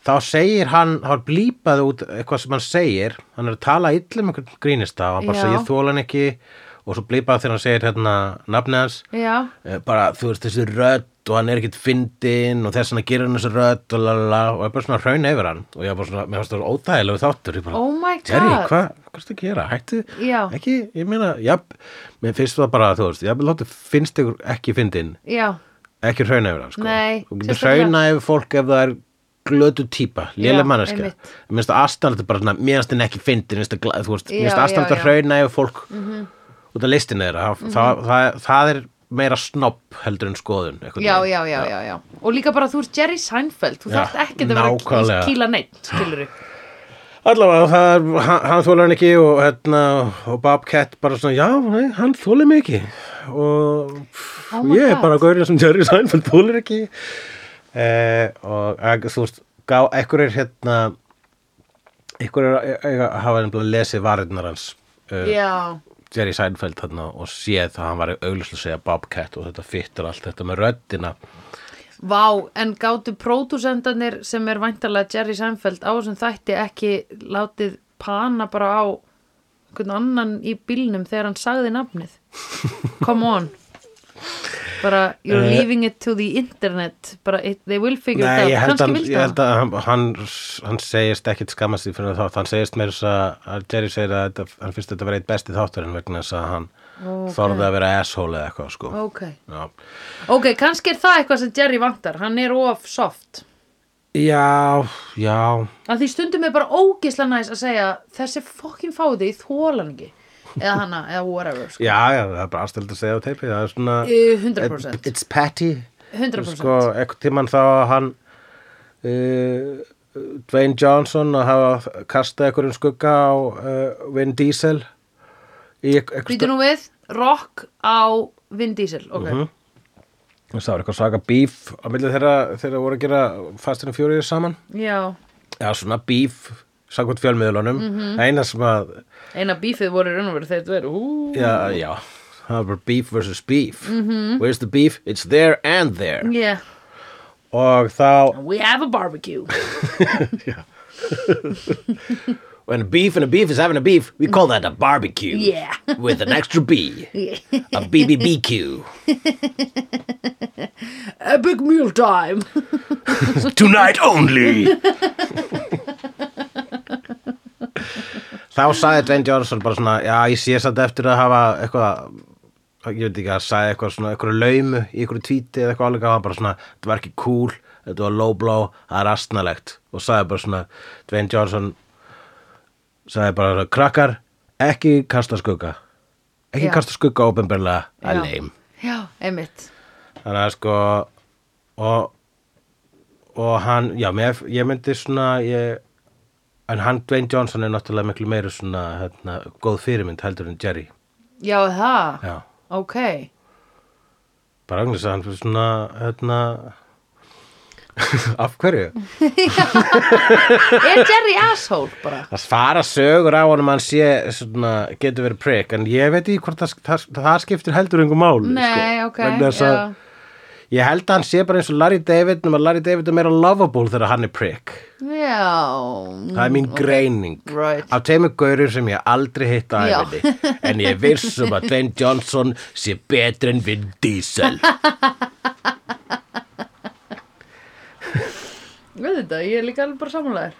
þá segir hann, þá er blípað út eitthvað sem hann segir, hann er að tala illa um einhvern grínista og hann bara Já. segir þólan ekki og svo blípað þegar hann segir hérna nafnið hans já, eh, bara þú veist þessi rödd og hann er ekkert fyndinn og þess hann að gera hann þessi rödd og lalala og er bara svona raun yfir hann og ég er bara svona, mér fannst það óþægilegu þáttur ég bara, oh my god. Terry, hvað hva ertu að gera? Hættu, Já. ekki, ég meina, jafn, mér finnst það bara, þú veist, jafn, láttu, finnst ykkur ekki fyndinn Já, ekki hrauna yfir hann sko. Nei, þú getur sérstaklega- hrauna yfir fólk ef það er glötu típa, lélega Já, manneska einmitt. mér finnst það aðstæðan bara svona, mér finnst það ekki fyndin mér finnst það gla- þú veist, mér finnst Já, það aðstæðan já, Mhm. að hrauna yfir fólk út af listinu þeirra það, það, það, það er meira snopp heldur en skoðun einhvern já, veginn. já, já, já, já. Og líka bara þú ert Jerry Seinfeld, þú Já, þarft ekki að vera nákvæmlega. að kýla neitt, skilur allavega, það er, hann, hann þólar hann ekki og, hérna, og Bobcat bara svona já, nei, hann þólar mig ekki og pff, Oh my ég er God. bara gaurið sem Jerry Seinfeld þólar ekki eh, og að, þú veist, gá, ekkur er hérna ekkur er að- eiga að hafa nefnilega lesið varirnar hans eh, Já, Jerry Seinfeld þarna og séð að hann var auðvitað að segja Bobcat og þetta fyttur allt þetta með röddina vá, en gátu pródúsendanir sem er væntalega Jerry Seinfeld á þessum þætti ekki látið pana bara á einhvern annan í bílnum þegar hann sagði [laughs] nafnið come on bara you're leaving it to the internet bara it, they will figure Eh, Nei, it ég out held, kannski hann, vildi ég hann held að hann, hann, hann segist ekkit skammast því fyrir þátt, hann segist meira þess að að Jerry segir að þetta, hann finnst þetta verið eitt besti þátturinn vegna þess að hann Ókei. þorði að vera asshole eða eitthvað sko. ok, Já. ok, kannski er það eitthvað sem Jerry vantar hann er of soft Já, já að því stundum er bara ógisla næs að segja þessi fokkin fáði í þólan ekki eða hana, eða whatever sko. Já, já, það er bara aðstæld að segja á teipi Það er svona Eh, 100%. It's Patty 100%. Sko, eitthvað tímann þá að hann uh, Dwayne Johnson að hafa kastað einhverjum skugga á uh, Vin Diesel í eit- Býtu eitthvað nú við, rock á Vin Diesel, ok Mhm. Það var eitthvað svaka bíf á milli þeirra þeirra voru að gera Fast and Furious saman Já, Já, svona bíf samkvæmt fjölmiðlunum mm Mhm. -hmm. Eina sem að eina bífið voru í raun og verið þeir tveir Ú. Já, já, það er bara beef versus beef -hmm. Where's the beef? It's there and there Mhm. Yeah, Og þá, we have a barbecue when a beef and a beef is having a beef We call that a barbecue Yeah. With an extra B [laughs] Yeah. A BBBQ Epic meal time [laughs] Tonight only Þá sagði Dwayne Johnson bara svona Já, ég sé satt eftir að hafa eitthvað Ég veit ekki að sagði eitthvað svona Eitthvað laumu í eitthvað tvíti eða eitthvað alveg Það var bara svona, þetta var ekki cool Þetta var low blow, það er astnalegt Og sagði bara svona, Dwayne Johnson sagði bara svona, Krakkar, ekki kasta skugga Ekki Já. kasta skugga ópenbarlega Það Já. er leim [laughs] Já, einmitt þannig að sko og, og hann já, mér, ég myndi svona ég, en hann Dwayne Johnson er náttúrulega miklu meiri svona hérna, góð fyrirmynd heldur en Jerry Já, það, já, ok [laughs] bara anglis að hann fyrir svona hérna [laughs] af hverju? Er Jerry asshole bara? Það fara sögur á honum að hann sé svona, getur verið prick en ég veit ekki hvort það, það, það skiptir heldur engum máli Nei, sko, ok, vegna þess að já. ég held að hann sé bara eins og Larry David nema Larry David er meira lovable þegar hann er prick Já Það er mín greining Mm, Right. á tveimur gaurum sem ég aldrei hitt á Já. æfinni en ég viss um að Dwayne Johnson sé betri en Vin [laughs] Diesel Við þetta, ég er líka alveg bara samanlegar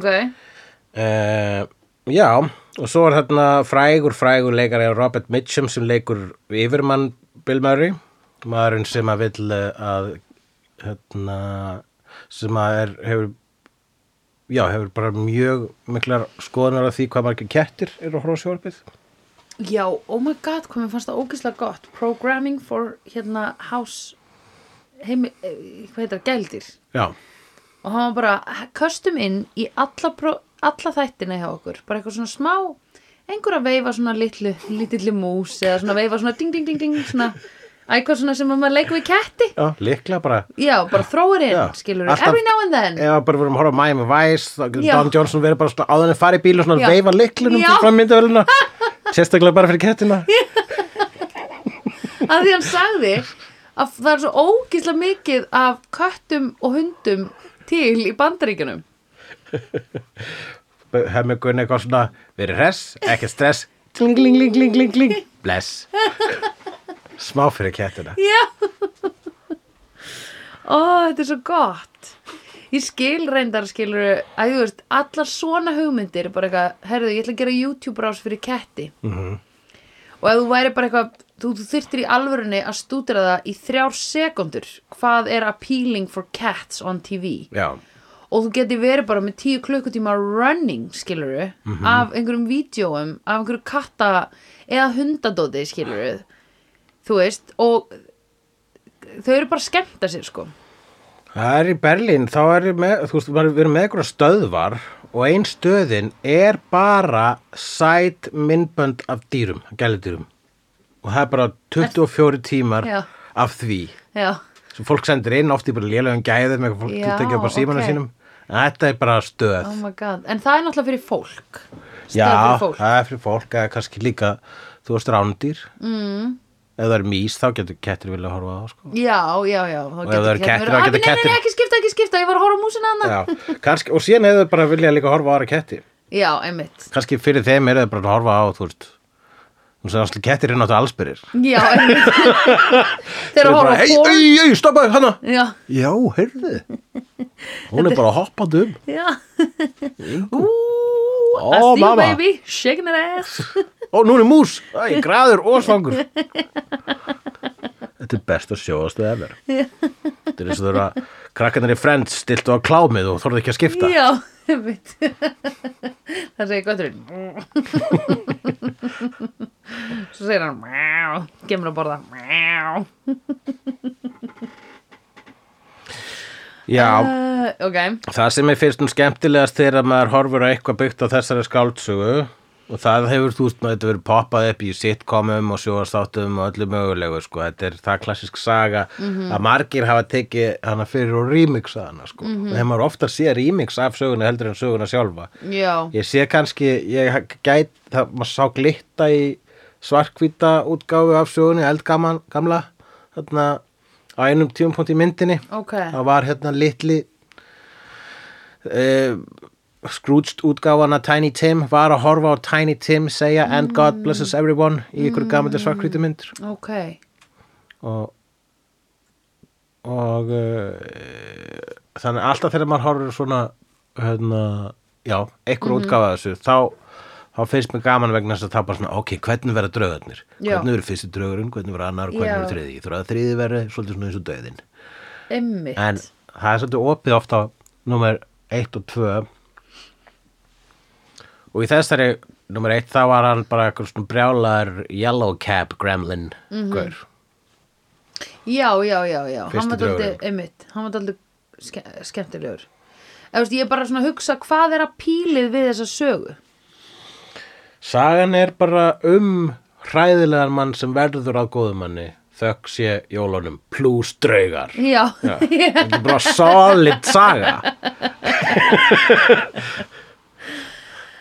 Ok uh, Já, og svo er þarna frægur, frægur leikari Robert Mitchum sem leikur yfirmann Bill Murray maðurinn sem að vill eh, að hérna, sem að er, hefur já, hefur bara mjög miklar skoðunar af því hvað margir kettir eru að horfa á sjórfið Já, oh my god, hvað mér fannst það ógeðslega gott Programming for, hérna, house heimi, eh, hvað heitir það, gældir Já, og hann var bara, köstum inn í alla, pró- alla þættina hjá okkur bara eitthvað svona smá, einhver að veifa svona litlu, litilli mús eða svona veifa svona ding, ding, ding, ding svona, eitthvað svona sem að maður leikur við ketti já, líkla bara Já, bara þróir inn, Já, skilur alltaf- every now and then ef bara verðum að horfa á Miami Vice þá getur Já. Don Johnson verið bara svona áður en farið bíl og svona Já. veifa liklunum Já. til [laughs] frammyndavöluna sérstaklega bara fyrir kettina að því hann sagði að það er svo ógíslega mikið af köttum og hundum til í bandaríkjunum hef mig gunni eitthvað svona verið hress, ekki stress tling, ling, ling, ling, ling, ling, [laughs] bless smá fyrir kettina Já Ó, þetta er svo gott Ég skil reyndar skilur að þú veist, allar svona hugmyndir bara eitthvað, herðu, ég ætla að gera YouTube rás fyrir ketti -hmm. og ef þú væri bara eitthvað þú, þú þyrftir í alvörunni að stúdra það í þrjár sekundur hvað er appealing for cats on TV já, og þú geti verið bara með tíu klukkutíma running skiluru Mhm. af einhverjum vídjóum, af einhverju katta eða hundadóti skiluru þú veist og þau eru bara að skemmta sér sko það er í Berlín þá er ég með, þú veist, maður- við erum með eitthvað stöðvar og ein stöðin er bara sæt myndbönd af dýrum, gælidýrum og það er bara 24 tímar Já. af því já, sem fólk sendir inn oft í bara lélegum gæðum eitthvað fólk Já, getur ekki upp á símanu ok. sínum en þetta er bara stöð oh my god en það er náttúrulega fyrir fólk Stöð já, fyrir fólk. það er fyrir fólk eða kannski líka þú veist rándýr mm. ef það er mís þá getur kettir vilja horfa á það, [laughs] sko. já, já, já og ef það eru kettir, þá "Ah, nei, geta nei, nei, kettir- ekki skipta, ekki skipta, ég var að horfa á músina hana já, kannski, og síðan eða þau bara vilja líka horfa á aðra ketti já, einmitt kannski fyrir þeim eru þau bara að horfa á þú veist þú veist að kettir er náttúrulega allsbyrir já, einmitt [laughs] þeir eru að horfa á ei, fólk ei, ei, stoppaðu hana já, já, [laughs] heyrðu hún er bara hoppandi um já I ó, see you mamma, baby, shaking that ass Ó, nú er mús, Æ, graður og [laughs] svangur Þetta er best að sjóast við ever Þetta er eins og þurfa að Krakkarnir í Friends stiltu á klámið og þorðu ekki að skipta. Já, [laughs] veit Það segir götturinn [laughs] Svo segir hann Mjá, kemur að borða Mjá Já, uh, Ok, það sem er fyrst um skemmtilegast þegar maður horfur á eitthvað byggt á þessari skáldsögu og það hefur þú veist maður þetta verið poppað upp í sitcomum og sjóastáttum og öllu mögulegu sko. Þetta er það klassisk saga að margir hafa tekið hana fyrir og remixað hana sko. Mm Þegar maður ofta sé remix af söguna heldur en söguna sjálfa. já Ég sé kannski, ég gæt, það, maður sá glitta í svarkvíta útgáfu af sögunni, eldgamla, gamla, þarna á einum tíumpunkt í myndinni. Ok, Það var hérna litli, uh, skrútst útgáfana Tiny Tim, var að horfa á Tiny Tim segja and Mm. God blesses everyone í ykkur gamaldi svarkvítu myndur ok og og uh, þannig alltaf þegar maður horfir svona hérna, já, einhver Mhm. útgáfa af þessu þá, þá finnst mér gaman vegna þess að það bara svona, ok, hvernig verða draugarnir Já. hvernig verður fyrsti draugurinn, hvernig verður annar og hvernig Já. verður þriði, þú verður að þriði verður svolítið svona eins og döðin Einmitt en það er svolítið opið oft á nummer 1 og 2 og í þessari nummer 1 þá var hann bara eitthvað svona brjálar yellow cap gremlin Mhm. gaur Já, já, já, já, hann Fyrsti var daldið, draugurinn. einmitt, hann var daldið ske skemmtilegur. Eða, veist, ég er bara svona að hugsa hvað er að pílið við þessa sögu. Sagan er bara um hræðilegan mann sem verður að góðum manni þökk sé jólunum plus draugar. [laughs] Já, Já, Þetta er bara solid saga.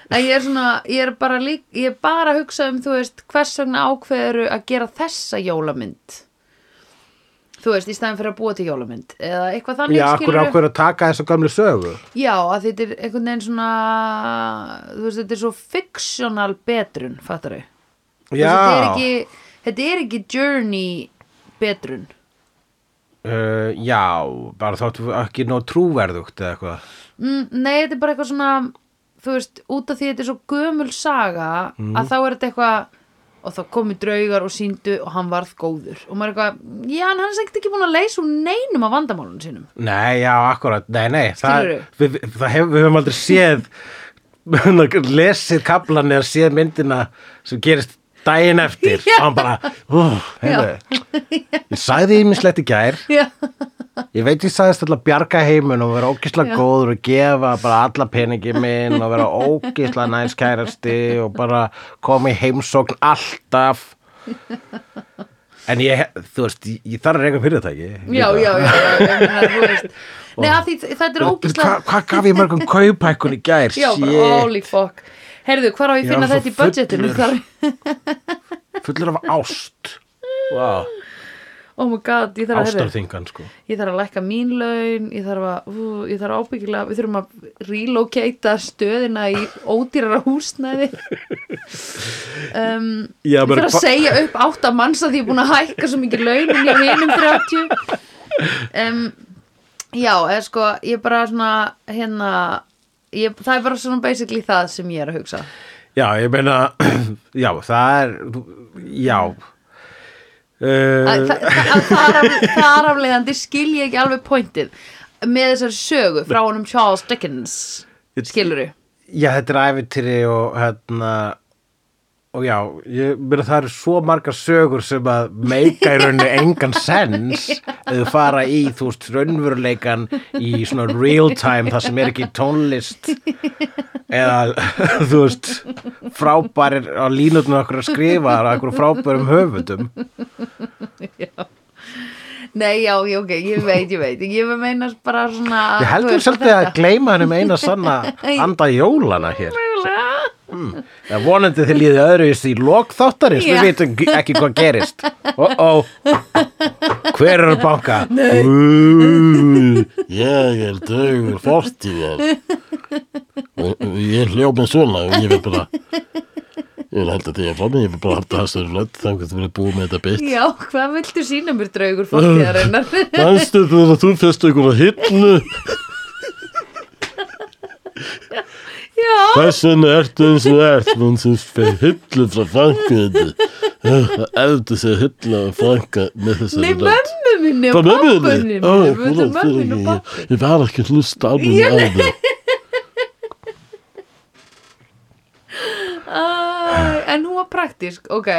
en ég er svona, ég er bara lík, ég er bara að hugsa um, þú veist, hvers vegna ákveður að gera þessa jólamynd. Þú veist, í staðin fyrir að búa til jólamynd. Eða eitthvað þannig Já, akkur skilurðu? ákveður að taka þessu gamlu sögu. Já, að þetta er einhvern veginn svona, þú veist, þetta er svo fictional betrun, fattar þau? Já, Þetta er ekki, þetta er ekki journey betrun. uh, já, bara þáttu ekki nóg trúverðugt eða eitthvað. Mm, nei, þetta er bara eitthvað svona þú veist, út af því þetta er svo gömul saga Mhm. að þá er þetta eitthvað og þá komu draugar og síndu og hann varð góður og maður er eitthvað, já, en hann er samt ekki búin að leysa úr neinum af vandamálunum sínum Nei, já, akkurat, nei, nei. Það, Skilurðu? við, við- það hef, við höfum aldrei séð, [laughs] lesið kaplan eða séð myndina sem gerist daginn eftir. Já. Hann bara, ú, Já. heyrðu, ég sagði ímislegt í gær. [laughs] Já, Ég veit ég sagðist alltaf bjarga heimun og vera ógislega góður og gefa bara alla peningi minn og vera ógislega næs kærasti og bara koma í heimsókn alltaf. En ég, þú veist, ég, ég þarf að reyka fyrirtæki. já, já, já, já, já það, er, þú veist Nei, að því þetta er Hvað ógislega hva gaf ég mörgum kaupækkun í gær? Já, bara Shit, holy fuck Heyrðu, hvar á ég að Ég finna var svo þetta í budgetinu? fullur. Hvar... fullur af ást. Vá, Oh my god, ég þarf að heyrðu ástarþingan sko. Ég þarf að lækka mín laun, ég þarf að, ú, ég þarf að ábyggilega, við þurfum að relocata stöðina í ódýrara húsnæði. Um, Já, ég maður þarf að hva- segja upp átta manns að því ég er búin að hækka svo mikið launin í hinum 30. Um, já, eða sko, ég er bara svona, hérna, ég, það er bara svona basically það sem ég er að hugsa. Já, ég meina, [clears throat] já, það er, já. Uh, Að þa- þa- að þar af- þar afleiðandi skil ég ekki alveg pointið með þessari sögu frá honum Charles Dickens, skilur þú? Já, þetta er æfintýri og hérna og já, ég meina það eru svo margar sögur sem að meika í rauninni engan sens eða fara í, þú veist, raunveruleikan í svona real time það sem er ekki tónlist eða, þú veist frábærir á línutinu okkur að skrifa á okkur frábærum höfundum Nei, já, já, ok, ég veit, ég veit Ég vil meina bara svona Ég þú heldur veist, svolítið að gleyma hennum eina [laughs] sanna anda jólana hér Mögulega. Það vonandi þið líði öðruvis í lokþáttarins, Já. við vitum ekki hvað gerist. [laughs] Ó, ó, hver er að banka? Nei. Ég er draugur fortíðar og ég hljóf með svona og ég vil bara ég vil halda því að fram ég vil bara halda þessari rödd þannig að þú vil búið með þetta beitt Já, hvað viltu sína mér draugur fórtíðarinnar? [laughs] Manstu þú að þú fyrst ykkur að hillu já, þess vegna ertu eins og þú ert mann sem fyrir hillu frá frangu þetta eldur sér hillu að franga með nei, þessari rödd mömmu mömminni og Það með pappunni mömmunni? mínum, Ó, þetta er fúlan, mömminni og fyrirgefðu, pappunni ég- Ég var ekki [laughs] að hlusta á mig á það. Æ, en hún var praktísk, ok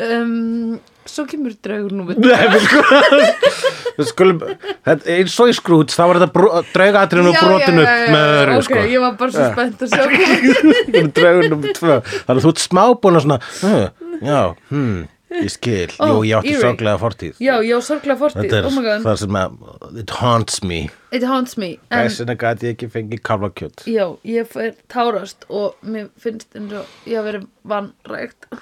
um, Svo kemur draugur númer Nei, við skulum, [laughs] við skulum þetta, eins og í skrúts, þá var þetta draugatrinu og Já, brotinu já, já, já, með öðru, ok, sko. [laughs] ég var bara svo spennt að sjá hvað- Draugunum tvö. Þannig að þú ert smábúin að svona, "Hm, já, hm, ég skil, Ó, jú, ég átti eerie. sorglega fortíð. Já, ég var sorglega fortið, Þetta er oh my god það sem að, it haunts me. It haunts me en, Þess vegna gæti ég ekki fengið kálfakjöt. Já, ég fær tárast og mér finnst eins og ég hafa verið vannrægt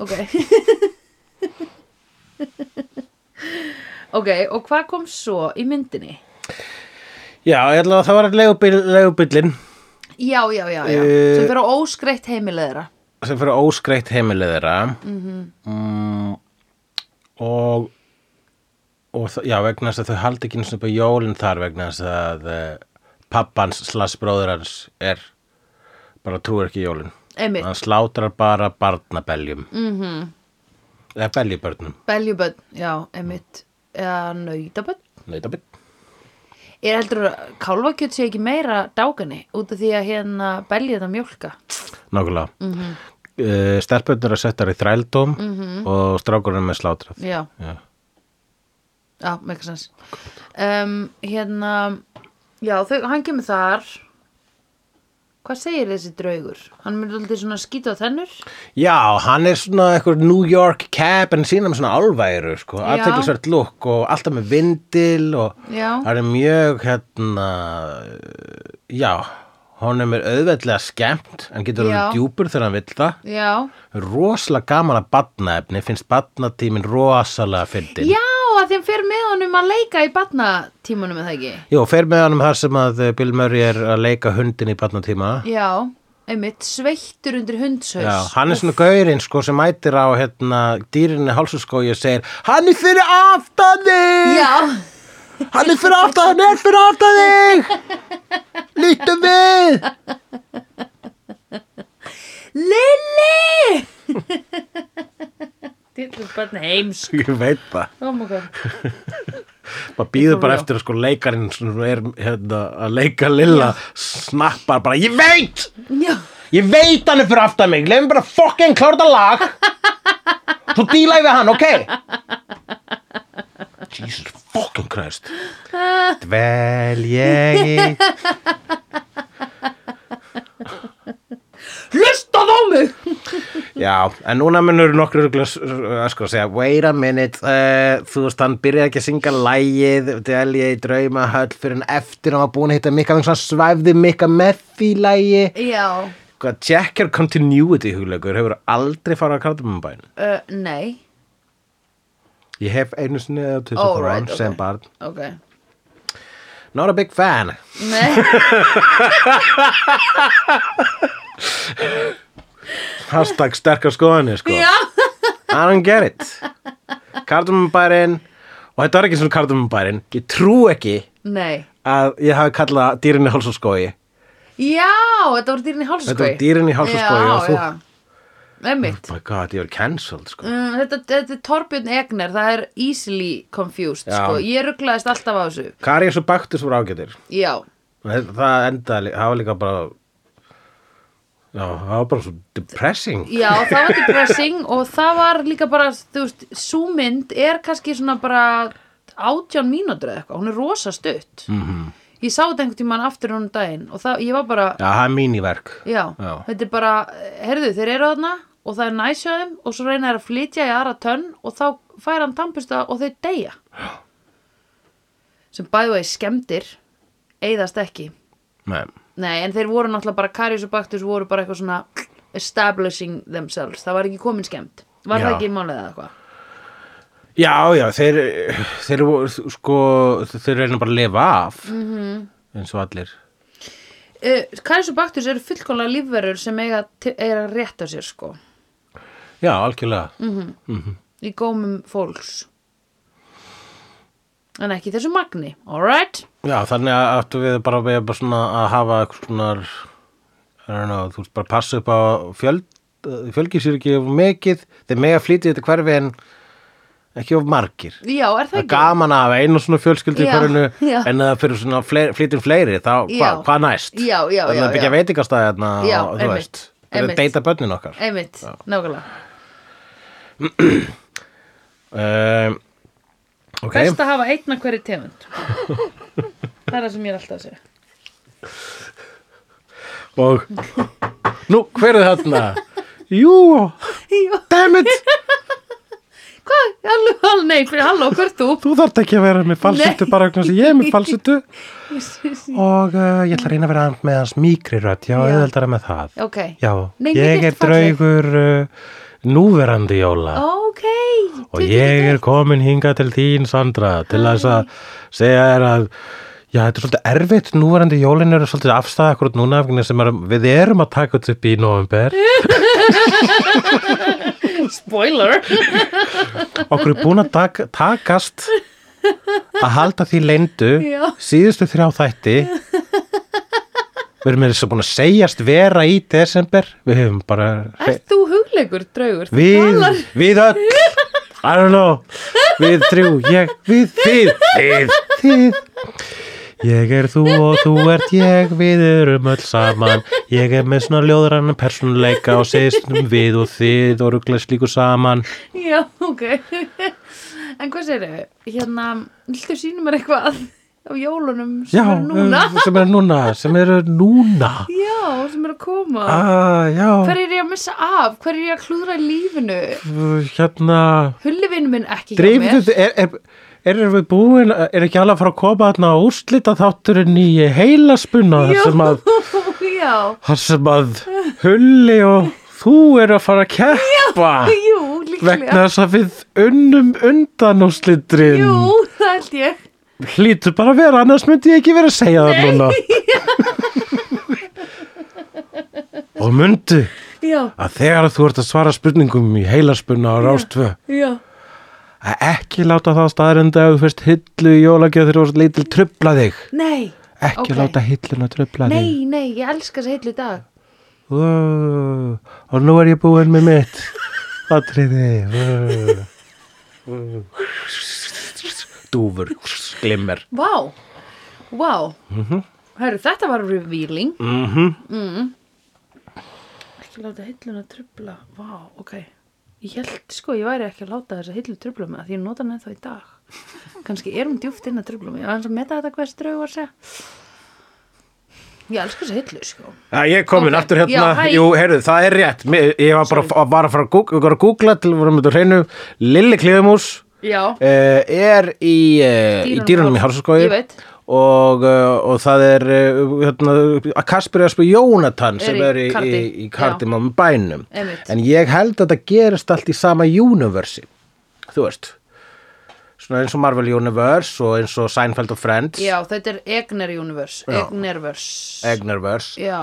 Ok Ok, og hvað kom svo í myndinni? Já, ég ætla að það var legubill, legubillin Já, já, já, já, Eh, sem fyrir á óskreitt heimilega þeirra sem fyrir óskreitt heimilið þeirra mm, og og það, já, vegna þess að þau haldi ekki einu sinni upp á jólin þar vegna þess að uh, pappans slagsbróður hans er bara trúir ekki í jólin Einmitt, hann slátrar bara barnabeljum mm Mhm. -hmm. eða beljubörnum beljuböld, já, einmitt eða nautaböld Neita, bit. Ég heldur að kálfakjöt sé ekki meira dágani út af því að hérna beljið það mjólka. nákvæmlega mm Mhm. -hmm. uh, stelpöndar er settar í þrældóm og strákurinn er slátrað Já, já. já, með eitthvað sens. Um, hérna, já, þau, hann kemur þar. Hvað segir þessi draugur? Hann myndir aldrei svona skýta á þennur? Já, hann er svona eitthvað New York cap en sína með svona álværu sko, Já. aðteklisvert lukk og alltaf með vindil og Já. hann er mjög hérna já, honum er auðveldlega skemmt, hann getur Já. hann djúpur þegar hann vill það Já. rosalega gaman að batnaefni, finnst batnatímin rosalega fyndin Já, að þeim fer með honum að leika í batnatímunum eða ekki? Jú, fer með hann um þar sem að eh, Bill Murray er að leika hundin í batnatíma Já, einmitt, sveittur undir hundshaus. Já, hann er svona gaurinn sko sem mætir á hérna dýrinni hálsuskói og segir Hann er fyrir aftan þig! Já, Hann er fyrir aftan, hann er fyrir aftan þig! Lítum við! Lilli! Dýrlum barn heims. Ég veit það. Oh my god. Maður býður bara Já. eftir að sko leikarinn sem er hérna, að leika Lilla snappar bara Ég veit! Já. Ég veit hann er fyrir aftan mig, lefum bara fokkin klárta lag Svo díla ég við hann, ok? Jesus fucking [laughs] Christ Dvel ég í Hlustað á mig! Já, en núna munur nokkur örugglega s- s- sko, segja, wait a minute uh, þú veist, hann byrjaði ekki að syngja lægið, delja í draumahöll fyrir hann eftir hann var búin að hitta Mikka þannig að svæfði Mikka með því lægi Já. Hvað, check your continuity hugleikur, hefur aldrei farið að kardamambæn Uh, nei. Ég hef einu sinni eða til Oh, þess að right, hann sem ok. barn Ok. Not a big fan Nei. Hashtag sterkar skoðanir sko Já. I don't get it Kardamambærin og þetta var ekki svona kardamambærin ég trú ekki Nei. að ég hafi kallað dýrinni háls og skói Já, þetta voru dýrin í hálsaskói. Þetta voru dýrin í hálsaskói Sko, Já, og þú- Oh já. Einmitt. my god, ég er cancelled sko. Mm, þetta, þetta er Torbjörn Egner, það er easily confused, Já. sko. Ég rugglaðist alltaf á þessu. Karius og Baktus voru ágætir Já. það það endaði, lí- það var líka bara já, það var bara svo depressing Já, það var depressing og það var líka bara, þú veist, sú mynd er kannski svona bara átján mínútur eða eitthvað, hún er rosa stutt. -hmm. Ég sá þetta einhvern tímann aftur hún um daginn og það, ég var bara, já, það er míniverk já, Já. þetta er bara, herðu, þeir eru þarna og það er næsja þeim og svo reyna þeir að flytja í aðra tönn og þá fær hann tampusta og þeir deyja. Já. Sem bæðu að ég skemmtir, eigðast ekki. Nei. Nei, en þeir voru náttúrulega bara Karius og Baktus voru bara eitthvað svona establishing themselves, það var ekki komin skemmt var Já. það ekki málið eða eitthvað já, já, þeir þeir voru, sko þeir reyna bara að lifa af -hmm. Mhm. eins og allir uh, Karius og Baktus eru fullkomlega lífverur sem eiga, til- eiga að rétta sér sko já, algjörlega í gómum fólks en ekki í þessu magni alright, já, þannig að áttu við bara, við bara svona að hafa eitthvað svona I don't know, þú veist bara eh, passa upp á fjöld fjölgisir ekki of mikið þeir mega flytja í þetta hverfi en ekki of margir Já, er það það er ekki? gaman að hafa einu svona fjölskyldu í Já, hverjunu já. en að fyrir svona fleiri, flytjum fleiri þá hva, Já. hvað næst Já, já, þannig já, að byggja já. veitingastæði þarna Já, og þú einmitt, veist það er einmitt. að deyta börnin okkar Einmitt, nákvæmlega um, ok, Best að hafa einna hverju tegund Það er það sem ég er alltaf að [laughs] segja og nú, hver er þarna? [laughs] jú, Já, dammit hvað? Halló, halló, nei, fyrir halló, hver [laughs] ert þú? þú þarft ekki að vera með falsettu Nei. bara vegna sem ég [laughs] er með falsettu og uh, ég ætla að reyna að vera aðeins með hans mikri rödd, já, Já. auðveldara með það Ok, já, Nei, mér ég finnst er falleg. draugur uh, núverandi jóla ok og ég er komin hingað til þín Sandra til þess að segja þér að já, þetta er svolítið erfitt, núverandi jólin eru svolítið afstæða akkur út núna vegna sem er, við erum að taka þetta upp í november Spoiler okkur er búin að tak, takast að halda því leyndu Já. síðustu þrjá þætti við erum með þess að búin að segjast vera í desember við hefum bara Ert þú hugleikur, draugur? Þú við, talar- við öll I don't know við þrjú, ég, við, þið þið, þið ég er þú og þú ert ég við erum öll saman ég er með svona ljóðrann persónuleika og segist um við og þið og rugglaðs líku saman Já, ok [laughs] En hvað segirðu? Hérna, viltu sína mér eitthvað af jólunum sem já, eru núna? [laughs] eh, sem er núna sem eru núna Já, sem eru að koma ah, já, Hver er ég að missa af? Hver er ég að klúðra í lífinu? hérna Hullivinn minn ekki hjá mér dreifðu, er, er Er við búin, er ekki alveg að fara að koma þarna á úrslita þátturinn í heilaspunna þar sem að Já, þar sem að Hulli og þú eru að fara að keppa jú, líklega vegna þess að við unnum undan og slitrin Jú, það held ég hlýtur bara að vera, annars myndi ég ekki vera að segja það [laughs] núna og myndu Já, að þegar þú ert að svara spurningum í heilarspunna á rástfö já að ekki láta það staðrenda ef þú fyrst hillu í jólagjöð þegar þú ert lítil trubla þig Nei, ekki Ok. láta hilluna trubla þig nei, nei, ég elska þess heitlu dag Ó, og nú er ég búinn með [laughs] mitt atriði Ó, ó. dúfur glimmer Vá, vá Mhm. Herru, þetta var revealing mm Ekki láta hilluna trubla Vá, ok Ég held sko, ég væri ekki að láta þessa hillu trubla með því ég nota hann ennþá í dag Kannski er hún djúft inn að trubla mig Ég var aðeins að meta þetta hvers draugu var að segja Ég elska þessa hillu sko að ég er komin Ok. aftur hérna, Já, hæ. jú, heyrðu, það er rétt Mér- ég var bara að, var að fara að googla, var að googla til að vera með þetta á hreinu, Lilli Kliðumús Já, uh, er í, uh, í Dýrunum dýrunum í Háls- Hálsaskói Ég veit. og, uh, og það er uh, hérna, að Kasper er að spila Jónatan sem Er er í í, í, Cardi, í kardimum bænum Einmitt. en ég held að það gerist allt í sama universi þú veist svona eins og Marvel Universe og eins og Seinfeld og Friends já, þetta er Egner Universe Já. Egnerverse Egnerverse Já,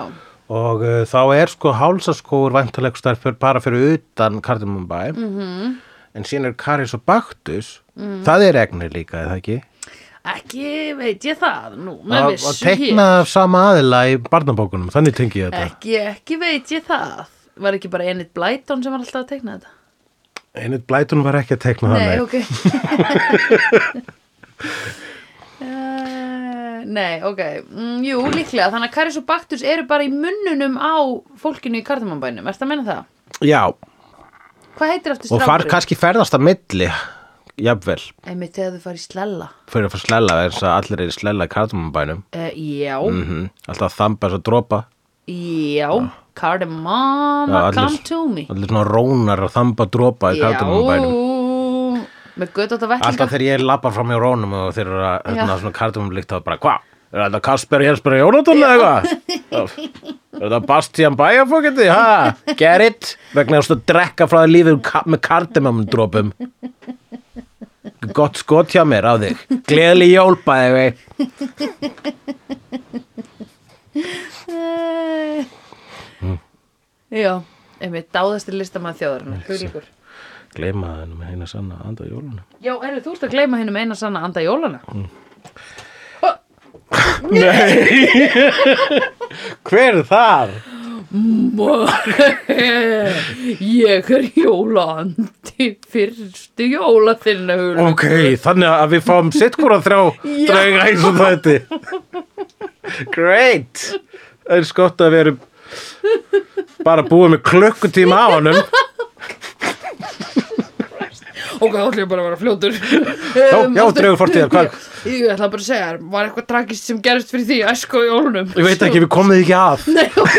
og uh, þá er sko hálsaskóur væntalegustar bara fyrir utan kardimum bæ -hmm. Mhm. en síðan er Karis og Baktus það er Egner líka, eða ekki? ekki veit ég það nú, með að að vissu tekna af sama aðila í barnabókunum, þannig tengi ég þetta ekki, ekki veit ég það var ekki bara Enid Blyton sem var alltaf að teikna þetta Einnig Blætun var ekki að tekna það nei, nei. ok uh, nei, ok mm, jú, líklega, þannig að Karis og Baktus eru bara í munnunum á fólkinu í kardamannbænum, ertu að menna það? Já, hvað heitir eftir og far, strákurinn? kannski ferðast að milli jafnvel, einmitt þegar þau farið í slella fyrir að fara slella eins og allir er í slella í kardamannbænum uh, já, mm alltaf að þamba þess að dropa já cardamom, Ah. Já, allir- come to me allir svona rónar að þamba dropa í kardamannbænum já, með göttótt að Alltaf þegar ég lappa fram hjá rónum og þeir eru að hérna, Já. svona kardumunlíkt þá er bara hvað? Er þetta Kasper Jensberg Jónatan eða eitthvað? Er þetta Bastian Bæjarfókiti? Ha? Get it? Vegna þess að drekka frá það lífið um ka- með kardumumdrópum. Gott skot hjá mér á þig. Gleðli jólpaði við. Nei. Mm. Já, einmitt, dáðastir listamaður þjóðarinnar, huglíkur. Gleima það með eina sanna anda jólunum. Já, eru þú ert að gleyma hennum eina sanna anda jólana? [laughs] Hver er þar? [laughs] Ég er jólandi fyrstu jólaþinna Ok, þannig að við fáum sitt hvora þrjá Já. drauga eins og þetta Great Það er skott að við erum bara búið með klukkutíma á honum Ok, þá ætlum ég bara að vera fljótur Já, um, já, draugur fortíðar, hvað? Ég, ég ætla bara að segja, þér, var eitthvað tragist sem gerist fyrir því í æsku og jólunum Ég veit ekki, við komum því ekki að Nei, ok,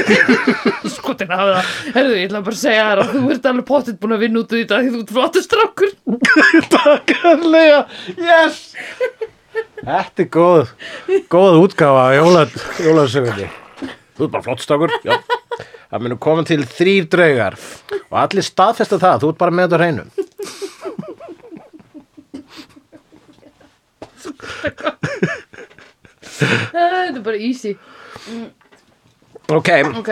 skotin af það Herðu, ég ætla bara að segja þér að þú ert alveg pottitt búin að vinna út úr því að því þú ert flottur strákur Takk hérlega, yes Þetta er góð góð útgáfa á jóla- jólasögunni Þú er bara flott stakur Já. Það munum koma til þrýr draugar og allir staðfesta það, þú ert bara með þetta á hreinu Þetta er bara easy Ok, Ok,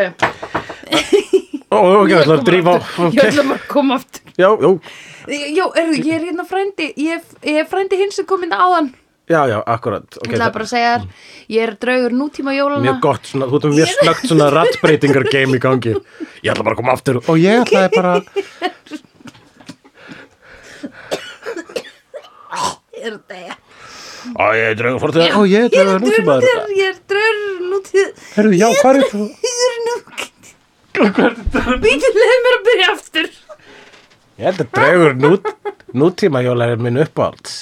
Ó, ok, ég ætla að drífa á- Ég okay. ætla bara að koma aftur Já, já, Jó, herðu, ég er hérna frændi Ég, er- ég er frændi hins sem kom inn áðan Já, já, akkurat Ég ætla bara að segja þér, ég er draugur nútíma jólana Mjög gott, svona, þú ert með mjög snöggt svona rattbreytingar game í gangi Ég ætla bara að koma aftur Og ég ætlaði bara Ég er þetta Ó, ég er draugur fór til það Ó, ég er Ég er draugur nú til draugur maður nútímaður, ég er draugur nútíma Herru, já, hvað er þú? Ég er nútíma Býtið leið mér að byrja aftur Ég held að draugur nút, nútíma jóla er minn uppáhalds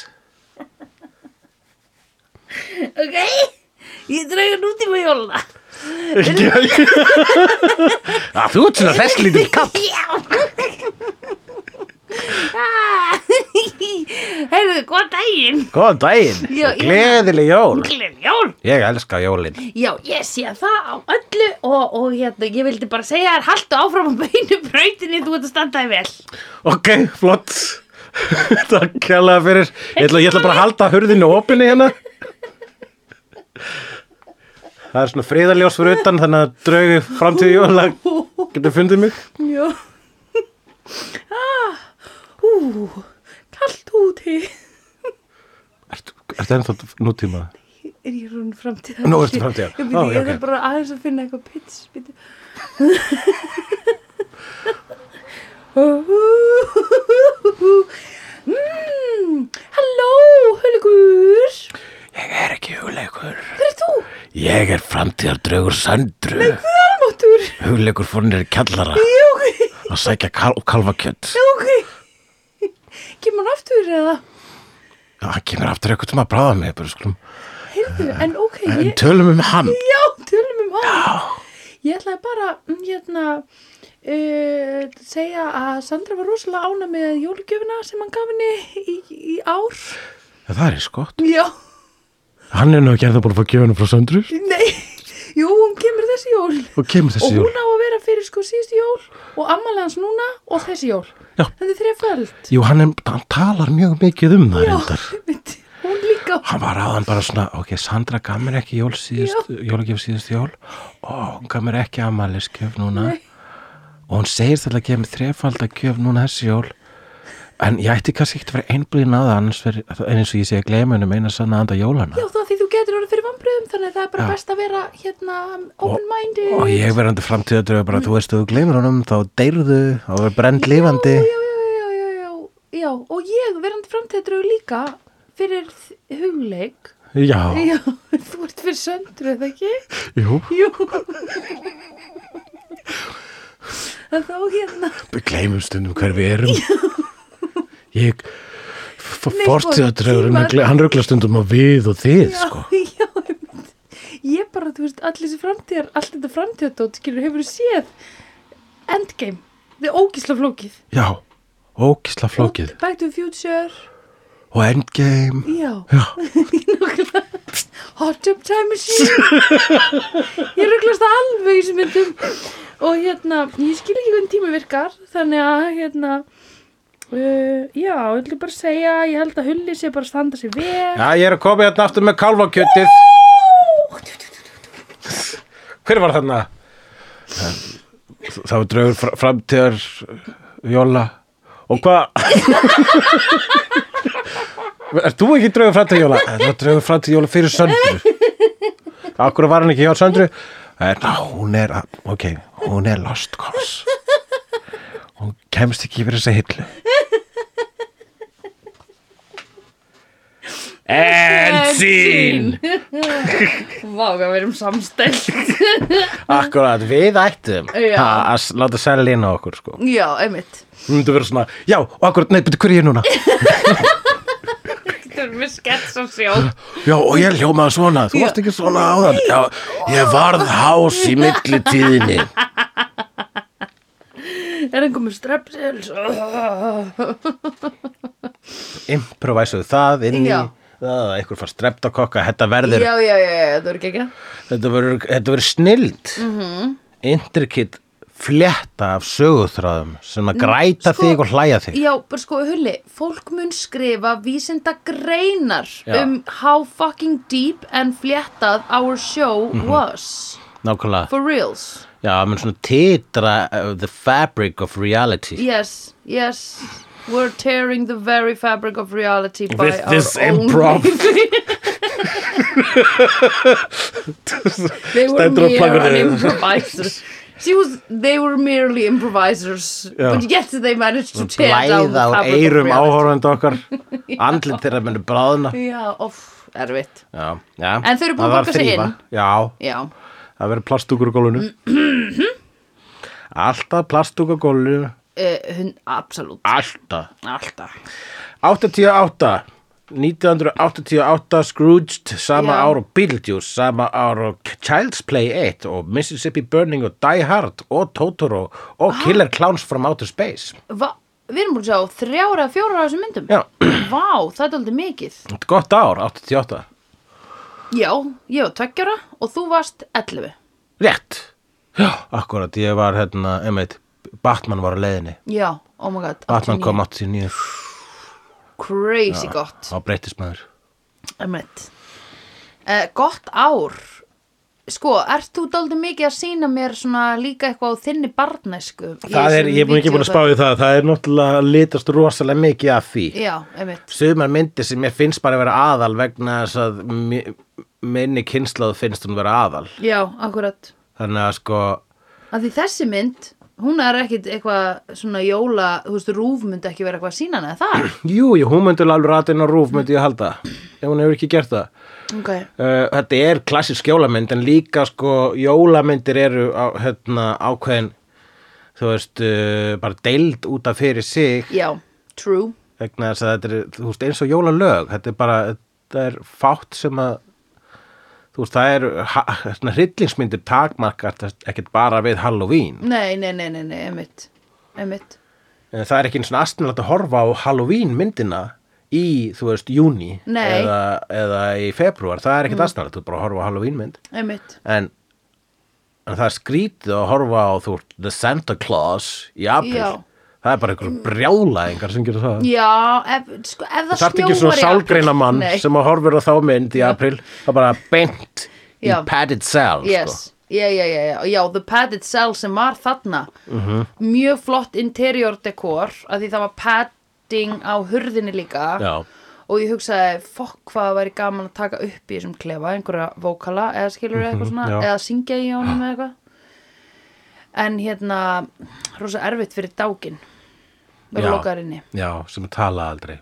Ok Ég er draugur nútíma jólana Já, þú ert svona þess lítil kapp Ah. [laughs] Heyrðu, góðan daginn Góðan daginn, Já, ég- og gleðileg jól Gleðileg jól Ég elska jólin Já, ég sé það á öllu og, og hérna, ég vildi bara segja þér haltu áfram á beinu brautinni, þú ert að standa þig vel Ok, flott [laughs] Takk kjærlega fyrir Ég ætla, ég ætla bara að halda hurðinu opinni hérna Það er svona friðarljós fyrir utan þannig að draugu framtíð jóla getur fundið mig Já ah, Ú, kallt úti Ertu ert ennþá nútíma? Er ég rún framtíðar? Nú ertu framtíðar. Ég, Ó, byrja, já, ég ok. þarf bara aðeins að finna eitthvað pits byrja. mm, Halló, Hulgur Ég er ekki hugleikur Hver er þú? Ég er framtíðar draugur söndru Almáttur Hugleikur fór nýri kjallara Já, ok, að sækja kal kalvakjött já, ok Kemur hann aftur eða? Já, hann kemur aftur eitthvað sem að bráða mig bara skulum Heyrðu, en ok, En ég, tölum um hann já, tölum um hann Ég ætlaði bara, mm, hérna, uh, segja að Sandra var rosalega ána með jólugjöfina sem hann gaf henni í, í ár. ja, Það er eins gott Já, Hann er nú ekki ennþá búin að fá gjöfuna frá söndru nei, jú, hún kemur þessi jól. Og kemur Og þessi jól hún á að vera fyrir sko síðustu jól og ammalið hans núna og þessi jól. Já. Þetta er þreföld. Jú, hann, er, hann talar mjög mikið um það reyndar einmitt. Hún líka. Hann var aðan bara svona, ok, Sandra gaf mér ekki jól síðust, jólagjöf síðust jól og hún gaf mér ekki amaliskjöf núna og hún segist alltaf að gefa mér þrefaldakjöf núna þessi jól en ég ætti kannski ekki að vera einblíðin á það annars veri, en eins og ég sé að gleyma henni meina sann að anda jólana Já, þá því þú getur orðið fyrir vambriðum þannig að það er bara Já. best að vera hérna open-minded. Og ég verðandi framtíðadröðu bara, þú veist, þú gleymur honum, þá deyrðu, þá verður brend lifandi. Já, já, já, já, já, já, já, og ég verandi framtíðadrögu líka fyrir þ- hugleik. Já, Já, [laughs] þú ert fyrir söndru, eða ekki? jú, Jú. En þá hérna, við gleymum stundum hver við erum. Ég, Nei, sko, fortíðadröður, tímar- hann ruggla stundum á við og þið, já, sko. [laughs] já, einmitt. ég bara, þú veist, allir þessi framtíðar, allt þetta framtíðadót, skilur, hefur séð Endgame, þið ógísla flókið. Já, ókisla flókið. Back to the Future, Og endgame, já. [laughs] já, Hot Tub Time Machine [laughs] Ég rugglast alveg í þessum myndum og hérna, ég skil ekki hvernig tími virkar þannig að hérna uh, já, ég ætla bara að segja ég held að hulli sé bara að standa sér vel Já, ég er að koma hérna aftur með kalvakjötið. Hver var þarna? Það var draugur fr- framtíðar Jóla og [laughs] hvað? Er þú ekki draugur framtíðar Jóla? Það var draugur framtíðar Jóla fyrir Söndru. Akkur var hann ekki hjá Söndru? en hún er að- ok, hún er lost cause hún kemst ekki yfir þessa hillu and scene Vá, hvað við erum samstælt akkurat, við ættum Já. ha, að s- láta selja inn á okkur sko Já, einmitt hún myndi vera svona, já, og akkurat, nei, betur hver er ég [laughs] núna Þetta er með skets og sjó Já, og ég hljómaði svona, þú varst ekki svona áðan Já, ég varð hás í millitíðinni Er einhver með strepsils Improvæsuðu það inn í Já. Það, einhver fannst streptakokka, þetta verður, Já, já, já, já, það er ekki ekki þetta verður, þetta verður snild mm -hmm. Mhm. Intrikit flétta af söguþráðum sem að græta sko- þig og hlæja þig Já, bara sko, hulli, fólk mun skrifa vísinda greinar Já. um how fucking deep and fléttað our show Mhm. was Nákvæmlega, for reals já, menn svona titra uh, the fabric of reality Yes, yes We're tearing the very fabric of reality by With our this own improv. [laughs] They were Stendur á mere plakatinu. improvisers She was, they were merely improvisers Já. But yet they managed to tear down Blæða the á fabric of eyrum reality áhorfandi okkar Andlit þeirra munu [laughs] bráðna Já, of, erfitt já, já. En þau eru búin að Það var borga sig þrífa. inn. Já, Já, Það verður plastúkur á [clears throat] gólfinu Alltaf plastúkur á gólfinu uh, hun, absolutt Alltaf Alltaf 88 1988 Scrooged sama Já. ár og Beetlejuice sama ár og Child's Play 1 og Mississippi Burning og Die Hard og Totoro og Ah. Killer Clowns from Outer Space Va, Við erum búin að sjá þrjára, fjóra á þessum myndum Já, [clears throat] Vá, það er aldrei mikið þetta er gott ár, 88 Já, ég var tveggjara og þú varst 11 Rétt Já, akkurat, ég var hérna, einmitt Batman var á leiðinni Já, oh my god 89. Batman kom 89 Crazy gott Þá breytist maður Emmett uh, Gott ár Sko, ert þú daldið mikið að sína mér svona líka eitthvað á þinni barnæsku í Það er, þessum ég er búin ekki búin að spá vídeóþætti? í það, það er náttúrulega litast rosalega mikið af því. Já, emmett Sumar myndir sem ég finnst bara að vera aðal vegna þess að mi- minni kynnslóð finnst hún vera aðal. Já, akkurat Þannig að sko, Af því þessi mynd, hún er ekkit eitthvað svona jóla, þú veist, rúf myndi ekki vera eitthvað að sína hana, er það? jú, jú, hún myndi alveg ratinn á rúf myndi ég halda, ef hún hefur ekki gert það. ok. Uh, þetta er klassisk jólamynd en líka sko jólamyndir eru á, hérna, ákveðin, þú veist, uh, bara deild út af fyrir sig Já, true. vegna þess að þetta er, þú veist, eins og jólalög þetta er bara, þetta er fátt sem að þú veist, það er ha- svona hryllingsmyndir takmarkart ekkert bara við Halloween Nei, nei, nei, nei, nei, emmett. Emmett. en það er ekki eins og aðstæðanlega að horfa á Halloween myndina í, þú veist, júni Nei. eða, eða í februar, það er ekkert mm. aðstæðanlega þú ert bara að horfa á Halloween mynd Emmett. en, en það er skrítið að horfa á, þú veist, The Santa Claus í april, Já. það er bara einhver brjálæðingar sem gerir það Já, ef, sko, ef það Það þarf ekki snjóar svona í apríl- sálgreina mann Nei. sem að horfir á þá mynd í april það bara bent í Já. padded cell sko. Yes, já, já, já, já, já, The Padded Cell sem var þarna Mhm. Mjög flott interior decor að Því það var padding á hurðinni líka sko. Já. Og ég hugsaði, fokk hvað það væri gaman að taka upp í þessum klefa Einhverja vókala eða skilur eitthvað svona Mhm, já. Eða syngja í honum eða eitthvað En hérna, rosa erfitt fyrir dákin Verður Já. lokaðar inni Já, sem tala aldrei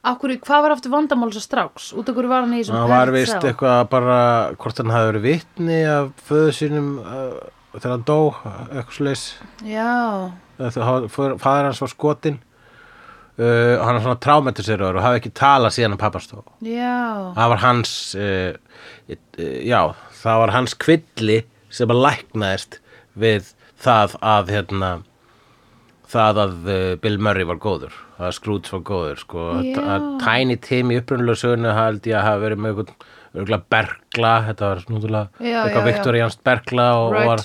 Akkur, hvað var aftur vandamálsa stráks? Út af hverju var hann í þessum Það var padded vist cell? eitthvað bara hvort hann hafi verið vitni af föðu sínum uh, þegar hann dó eitthvað slags Já, fæður hans var skotin uh, hann er svona trámetiserur og hafi ekki talað síðan um pappastó já það var hans uh, uh, já, það var hans kvilli sem að læknaðist við það að hérna, það að uh, Bill Murray var góður að Scrooge var góður sko. Já. T- að Tiny Tim í upprunulega sögunu held ég að hafa verið með einhvern örgulega bergla, þetta var snúðulega Já, já, já. eitthvað viktorianst bergla og, Right. og var,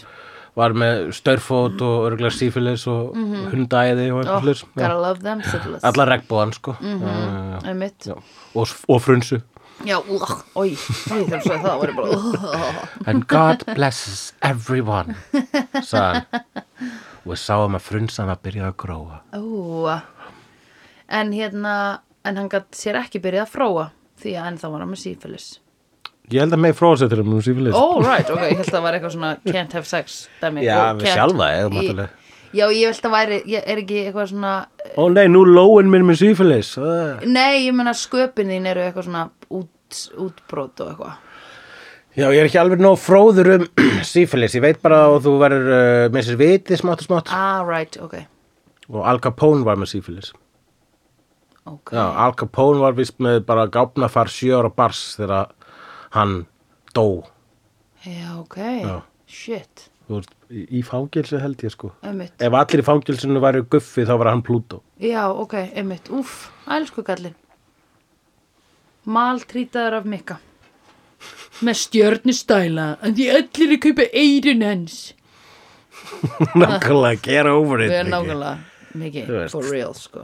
var með störfót og örgulega sífilis og mm hundæði og oh, eitthvað hlut Gotta love them syphilis allar regnbóðan sko Mhm. já, Það er mitt já, já. Og, og frunsu Já, úr, oi, oi, þegar svo það var ég bara uh, [laughs] And God blesses everyone sagði hann og við sáum að frunsan að byrja að gróa Ú En hérna En hann gætt sér ekki byrjað að fróa Því að ennþá var hann með sífilis Ég held að með fróðsettur um nú sífilist Oh right, ok, ég held að það var eitthvað svona can't have sex dæmi Já, og við can't- sjálfa eigum Í- náttúrulega. Já, ég held að væri, ég er ekki eitthvað svona Ó nei, nú lóin mér með sífilist Nei, ég meina sköpin þín eru eitthvað svona út, útbrot og eitthvað Já, ég er ekki alveg nóg fróður um [clears throat] sífilist Ég veit bara að þú verður uh, með sér vitið smátt og smátt Ah right, ok, Og Al Capone var með sífilist ok Já, Al Capone var vist með bara gáfnafar sjö ára bars þegar hann dó Já, ok, shit Þú veist, í í fangelsi held ég sko Einmitt, Ef allir í fangelsinu væri guffi þá var hann Plútó já, ok, einmitt Úff, elsku gallin Maltrýtaður af Mikka Með stjörnustæla En því öllir er kaupa eirun hans [laughs] Nákvæmlega, get over it Við erum Nikki. nákvæmlega, Mikki, Þú veist. for real, sko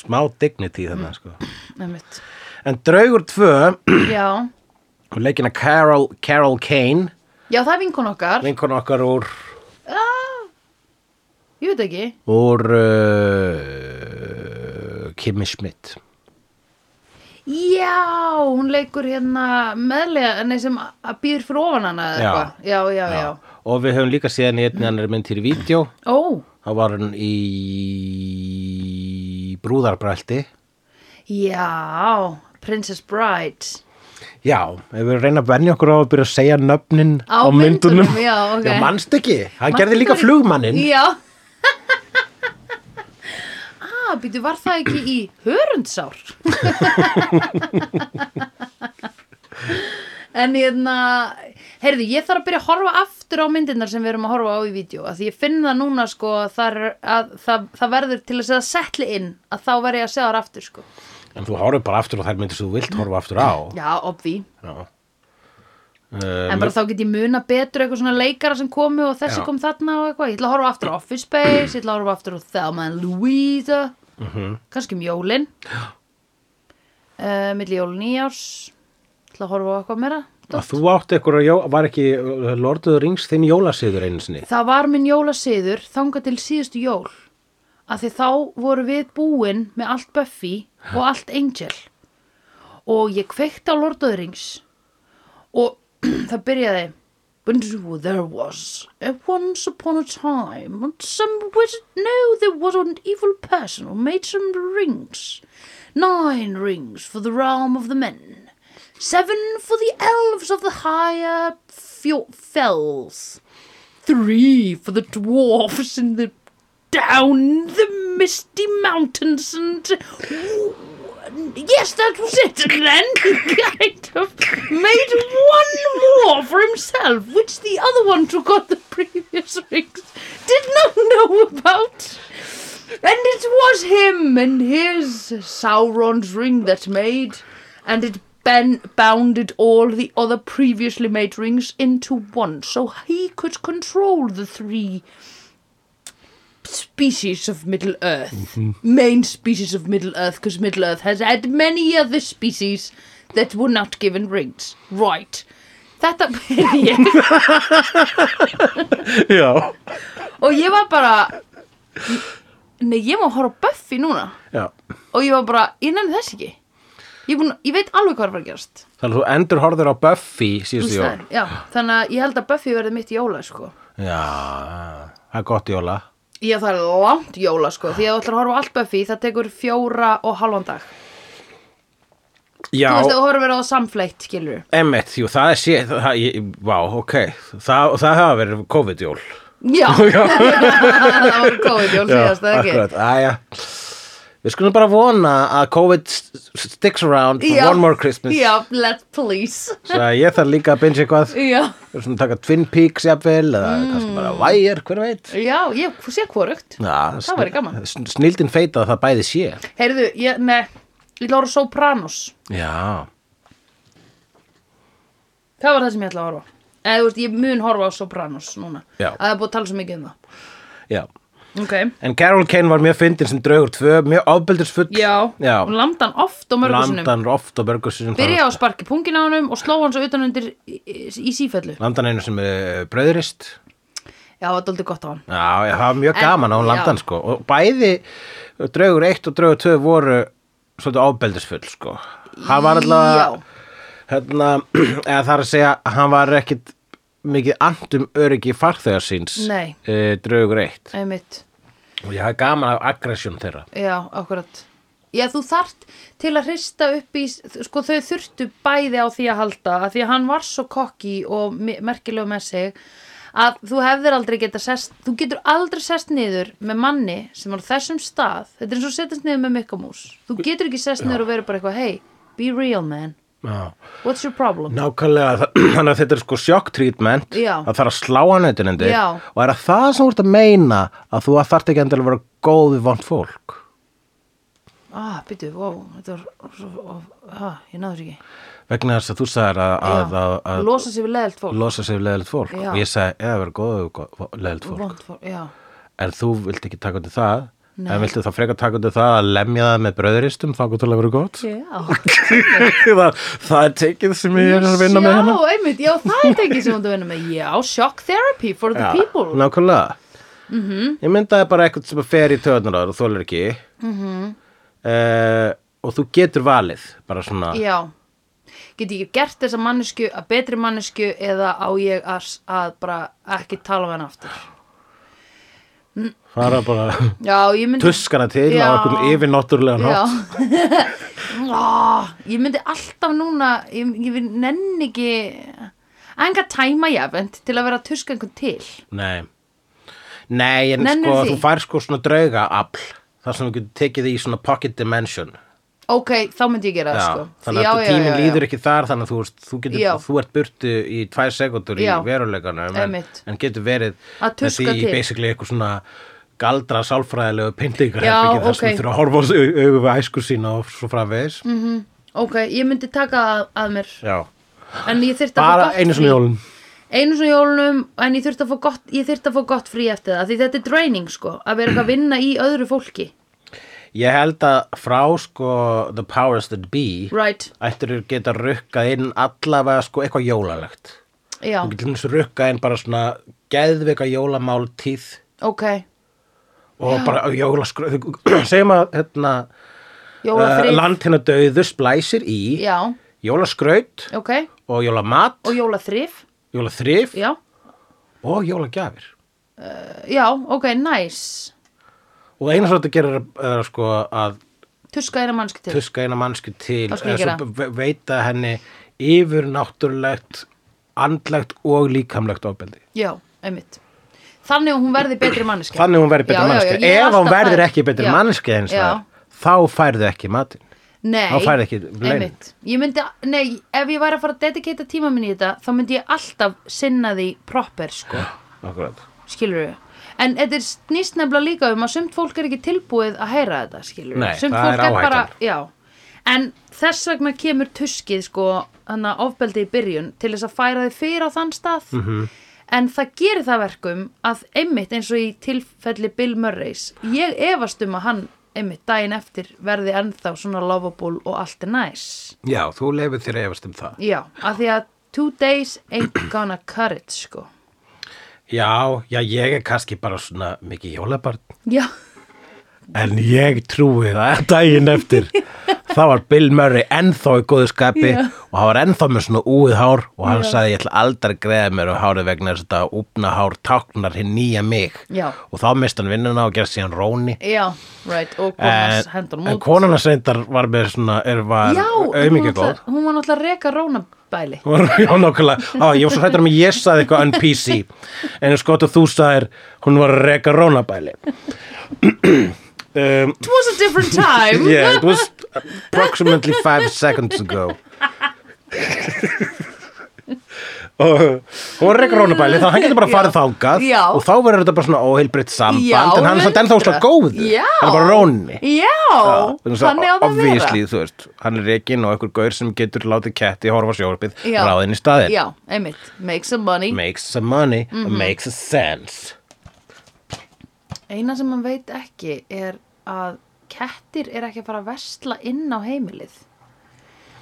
Smá dignity þannig sko Einmitt, En Draugur 2 já leikina Carol, Carol Kane Já, það er vinkun okkar vinkon okkar úr Ég veit ekki úr uh, Kimmy Schmidt Já, hún leikur hérna meðlega, nei sem að- að býður fyrir ofan hana eða Já. eitthvað Já, já, já, og við höfum líka séð henni í einni annari mynd til vídeo Ó, þá var hann í brúðarbrætti já, Princess Bride Já, ef við reyna að venja okkur á að byrja að segja nöfnin Á á, myndunum, myndunum, já, ok. já, manst ekki, hann Manstu gerði líka ekki- flugmannin Já [laughs] Ah, býtu, var það ekki í hörundsár? [laughs] en hérna, heyrðu, ég þarf að byrja að horfa aftur á myndirnar sem við erum að horfa á í vídeo að því ég finn það núna sko þar, að það, það verður til þess að setli inn að þá verð ég að segja þar aftur sko En þú horfir bara aftur og þær myndir sem þú vilt horfa aftur á Já, obví, Já en bara þá get ég muna betur eitthvað svona leikara sem komu og þessi Já. kom þarna og eitthvað, ég ætla að horfa aftur á Office Space, ég ætla að horfa aftur á Thelma and Louise kannski um jólin uh, milli jólin í árs ég ætla að horfa á eitthvað meira Að þú átti eitthvað, að jó- var ekki uh, Lord of the Rings þinn jólasiður einu [laughs] sinni? það var minn jólasiður þangað til síðustu jól af því þá voru við búin með allt Buffy og allt Angel og ég kveikti á Lord of the Rings og [clears throat] það byrjaði There was a once upon a time and some wizard, no there was an evil person who made some rings nine rings for the realm of the men seven for the elves of the higher fjo- fells three for the dwarfs in the down the misty mountains and yes that was it and then he kind of made one more for himself which the other one who got the previous rings did not know about and it was him and his Sauron's ring that made, and it ben- bounded all the other previously made rings into one, so he could control the three species of Middle Earth, main species of Middle Earth, because Middle Earth has had many other species that were not given rings. Right. Þetta [laughs] byrja ég Já. og ég var bara Nei, ég má horfa á Buffy núna Já. og ég var bara, ég nefndi þess ekki ég, er búin, ég veit alveg hvað er að fara að gerast Þannig að þú endur horfður á Buffy síðustu jól. Úlfstæðin, já, þannig að ég held að Buffy verði mitt jóla sko. Já, það er gott jóla. ég það er langt jóla sko, því að þú ætlar að horfa á allt Buffy það tekur fjóra og halvan dag Já, þú veist að þú horfir verið á samfleitt skilur emmitt, jú, það er séð, það, ég, vá, ok, það, það hafa verið COVID-jól. [laughs] já, [laughs] það var COVID jól síðast eða ekki akkurat, aðja. Við skulum bara vona að COVID s- s- sticks around for já, one more Christmas. já, let please Svo að ég þarf líka að binge eitthvað. já, Við erum svona að taka Twin Peaks jafnvel eða Mm. kannski bara Wire, hver veit. já, ég sé hvorugt Já, það væri gaman Snildin feita að það bæði sé. heyrðu, ég, ne, ég ætla að horfa á Sopranos Já. Það var það sem ég ætla að horfa á. Eða þú veist, ég mun horfa á Sopranos núna Já. Að það er búið að tala svo mikið um það Já. Ok, En Carol Kane var mjög fyndin sem draugur tvö, mjög ábyldursfull. já, Já. hún lamdi hann oft á mörgursunum Landan oft á börgursunum. Byrja á að sparki pungin á honum og sló hann svo utan undir í, í, í sífellu Landan einu sem er bröðurist. Já, það er doldið gott á hann Já, já, það var mjög En- gaman á hún já. landan sko. Og bæði draugur eitt og draugur tvö voru svolítið ábyldursfull sko. Það var Já. alltaf... hérna, [clears throat] eða það er að segja að hann var ekkit mikið andum öryggi farþegar síns Nei. eh, draugur eitt einmitt og ég hafði gaman af aggression þeirra Já, akkurat. Já, þú þart til að hrista upp í, sko þau þurftu bæði á því að halda, að því að hann var svo kokki og me- merkilegur með sig, að þú hefðir aldrei geta sest, þú getur aldrei sest niður með manni sem er á þessum stað, þetta er eins og að setjast niður með mikkamús, þú getur ekki sest niður og verið bara eitthvað, hey, be real man, Já. what's your problem? Nákvæmlega, þa- [clears throat] þannig að þetta er sko sjokk treatment Já. að það er að slá hann auðvitað nendi Já. og er að það sem þú ert að meina að þú þarft ekki endilega að vera góð við vant fólk Ah, býtu, wow, þetta var, svo- ah, ég náður ekki. vegna þess að þú sagðir að, að, að, Já, að losa sig við leðilt fólk. losa sig við leðilegt fólk Já. og ég sagði, eða vera góð við gó- leðilegt fólk Vont fólk, já. en þú vilt ekki taka undir það en viltu þá frekar taka undir það að lemja það með bröðuristum þá gott til að vera gott Já. [laughs] það, það er tekið sem ég er að vinna með hérna. hana Já, einmitt, já, það er tekið sem hún er að vinna með Já, shock therapy for the people Mm-hmm. nákvæmlega ég myndaði bara eitthvað sem fer í töðunar og þólar ekki mm Mm-hmm. og þú getur valið bara svona Já Get ég gert þessa mannesku að betri mannesku eða á ég að, að bara ekki tala um henni aftur fara [laughs] bara Já, ég myndi tuskana til á Já. einhvern yfirnáttúrulega Já nátt [laughs] Á, Ég myndi myndi alltaf núna ég, ég vil nenni ekki enga tæma jafnt til að vera að tuska einhvern til nei nei en Nennir sko því? þú fær sko svona draugaafl þar sem þú getur tekið því í svona pocket dimension Ok, þá myndi ég gera það sko þannig að tíminn líður ekki þar þannig að þú, veist, þú, getur, Já. þú ert burtu í tvær sekundur í Já. veruleikanum en, Einmitt. en getur verið Að með tuska því til. basically eitthvað svona galdra sálfræðilegu pyntingar Já, þar ok. sem þú þurfa að horfa á sig au- augu við æsku sína og svo framvegis mm. Ok, ég myndi taka að, að mér En ég þyrfti að fá bara gott einu frí. svona jólun einu svona jólunum en ég þurfti að fá gott, ég þurfti að fá gott frí eftir það því þetta er draining sko, að vera eitthvað að vinna í öðru fólki, ég held að frá sko the powers that be right ættir þú geta rukkað inn allavega sko eitthvað jólalegt já, þú getur eins og rukkað inn bara svona geðveika jólamáltíð ok, og bara jólaskröð [clears throat] segjum að hérna, uh, jólafrið land hérna döðu splæsir í já, jólaskraut ok, og jólamat, og jólaþrif jólaþrif já, og jólagjafir já, ok, nice og eina svo þetta gerir er, er sko að tuska eina mannski til tuska eina mannsku til Það skal ég eða svo ve- veita henni yfir náttúrulegt andlegt og líkamlegt ofbeldi já, einmitt þannig að hún verði betri manneski þannig hún verður betri mannski ef hún verður ekki betri mannski eins já, og þá færðu ekki matinn Nei, Þá færðu ekki launin. einmitt. Ég myndi, nei, ef ég væri að fara að dedikata tíma minni í þetta, þá myndi ég alltaf sinna því proper, sko. Akkurat. skilur við en þetta er snýst nefnilega líka um að sumt fólk er ekki tilbúið að heyra þetta skilur Nei, sumt það fólk er bara, áhættan. já en þess vegna kemur tuskið sko hann að ofbeldi í byrjun til þess að færa þið fyrir á þann stað Mhm. -hmm. en það gerir það verkum að einmitt eins og í tilfelli Bill Murrays ég efast um að hann einmitt daginn eftir verði ennþá svona lovable og allt er næs já, þú lefur þér að efast um það já, af því að two days ain't gonna cut it sko já, já, ég er kannski bara svona mikið jólabarn já En ég trúi það [laughs] daginn eftir þá var Bill Murray ennþá í góðu skapi Já. og hann var ennþá með svona úið hár og hann sagði ég ætla aldrei að greiða mér og hárið vegna þess að þetta úpna hár táknar hinn nýja mig Já. og þá mist hann vinnuna og gerði síðan róni Já, right, og konas en, hendur Eh, en mút konan hans reyndar var með svona er var Já, um en hún, auðmikið ætla, góð [laughs] hún var náttúrulega að reka rónabæli Hún var- Já, nokkulega, á, ég var svo hættur um að ég saði eitthvað en PC, en sko að þú sagðir hún var að reka rónabæli [clears throat] um, It was a different time [laughs] Yeah, it was approximately five seconds [laughs] ago og hún rekur rónabæli þá hann getur bara að Oh. Já. fara þangað Já. og þá verður þetta bara svona óheilbritt samband Já, en hann er samt ennþá slag hundrað. góð Já. hann er bara róni Já, þannig á það að vera Obvísli, þú veist, hann er rekin og einhver gaur sem getur látið ketti horfa á sjóarbið Já. ráðin í staðin Já, Mhm. einmitt, make some money makes some money, makes a sense Eina sem hann veit ekki er að kettir er ekki að fara að versla inn á heimilið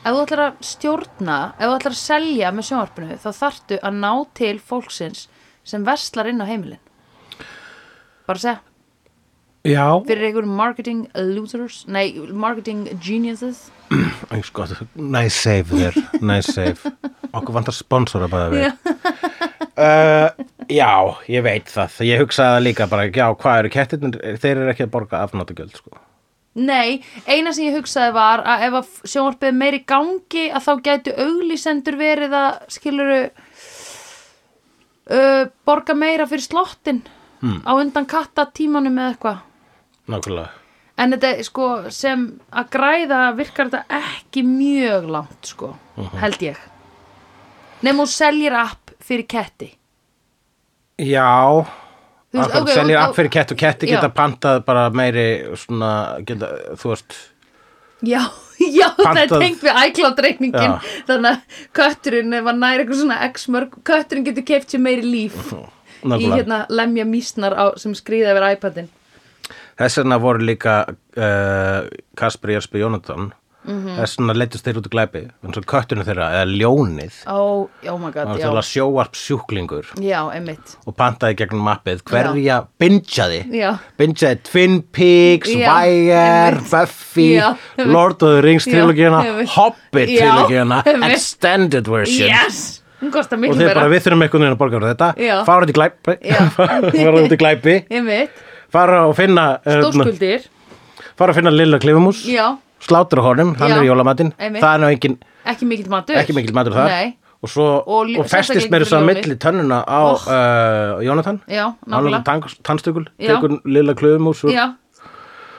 Ef þú ætlar að stjórna, ef þú ætlar að selja með sjónvarpinu þá þarftu að ná til fólksins sem verslar inn á heimilin Bara að segja Já, fyrir einhver marketing losers nei, marketing geniuses Ég sko, nice save þér, nice [laughs] save Okkur vantar sponsora bæða við uh, Já, ég veit það Ég hugsaði það líka bara, já, hvað eru kettirnir Þeir eru ekki að borga afnátugjöld, sko nei, eina sem ég hugsaði var að ef að sjónvarpið er meiri í gangi að þá gætu auglýsendur verið að skiluru uh, borga meira fyrir slottin hmm. á undan katta tímanum eða eitthvað Nákvæmlega en þetta er, sko sem að græða virkar þetta ekki mjög langt sko, Mhm. held ég nema hún seljir app fyrir ketti Já, Þú veist, af hverju ok, seljir ok, app fyrir kett og ketti já. geta pantað bara meiri svona, geta, þú veist Já, [laughs] já, það Pantað. er tengt við iCloud-reikningin Já. þannig að kötturinn ef hann næri eitthvað svona x mörg kötturinn getur keift sér meiri líf í [laughs] nákvæmlega. hérna lemja mísnar á, sem skrýða yfir iPadin Þess vegna voru líka uh, Kasper Jörsby Jónatan Mhm. Þess vegna leittist þeir út í glæpi eins og köttunum þeirra, eða ljónið Ó, oh my Það god, var til að já sjóvarp sjúklingur Já, einmitt og pantaði gegnum mappið hverja bingeaði Já. bingeaði Twin Peaks, Já, Wire einmitt. Buffy, Já, einmitt. Lord of the Rings Já, trilogíuna, einmitt. Hobbit Já, trilogíuna einmitt. Extended version Yes, hún kostar og miklu þeir bara meira við þurfum einhvern veginn að borga fyrir þetta Já. fara út í glæpi Já. [laughs] fara út í glæpi Einmitt, fara og finna hérna, stórskuldir fara að finna Lilla Klifumús Já, slátur á honum, hann Já. er í jólamatinn Einmitt. það er nú engin, ekki mikill matur ekki mikill matur þar Nei, og, svo, Og og, lí- festist sérstaklega meira svo að ekki milli tönnuna á Oh. uh, Jónatan já, hann er nákvæmlega tann, tannstökul, Já. tekur Lilla Klifumús úr, Já,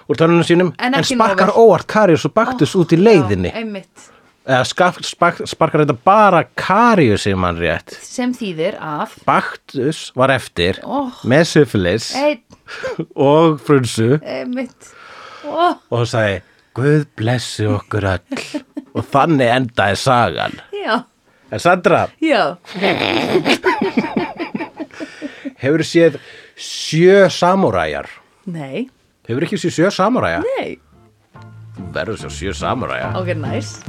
úr tönnunum sínum En ekki Oh. sparkar nóg óvart Karius og Baktus út í leiðinni einmitt eða skaf, spark, sparkar þetta bara Karius sem hann rétt sem þýðir að Baktus var eftir Oh. með syfilis ein, og frunsu einmitt Ó, og hún sagði Guð blessi okkur öll og þannig endaði sagan já, en Sandra, já hefur séð sjö samuræjar Nei, hefur ekki séð sjö samuræja? nei verður séð sjö samuræja Ok, nice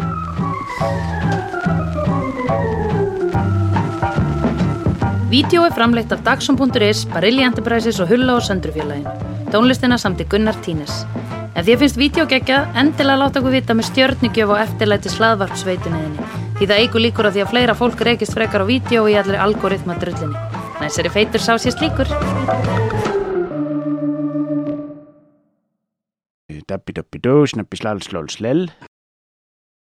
Vídeó er framleitt af Dagsum.is, Barilli Enterprises og Hulla og Söndrufjörlægin. Tónlistina samti Gunnar Tínes. Ef þér finnst vídeo geggja, endilega láta okkur vita með stjörnigjöf og eftirlæti slaðvarpsveituninni. Því það eigur líkur að því að fleira fólk reykist frekar á vídeo í allri algoritma drullinni. Næsari feitur sá sér slíkur. Dabbi dabbi dó, snabbi slal slól slell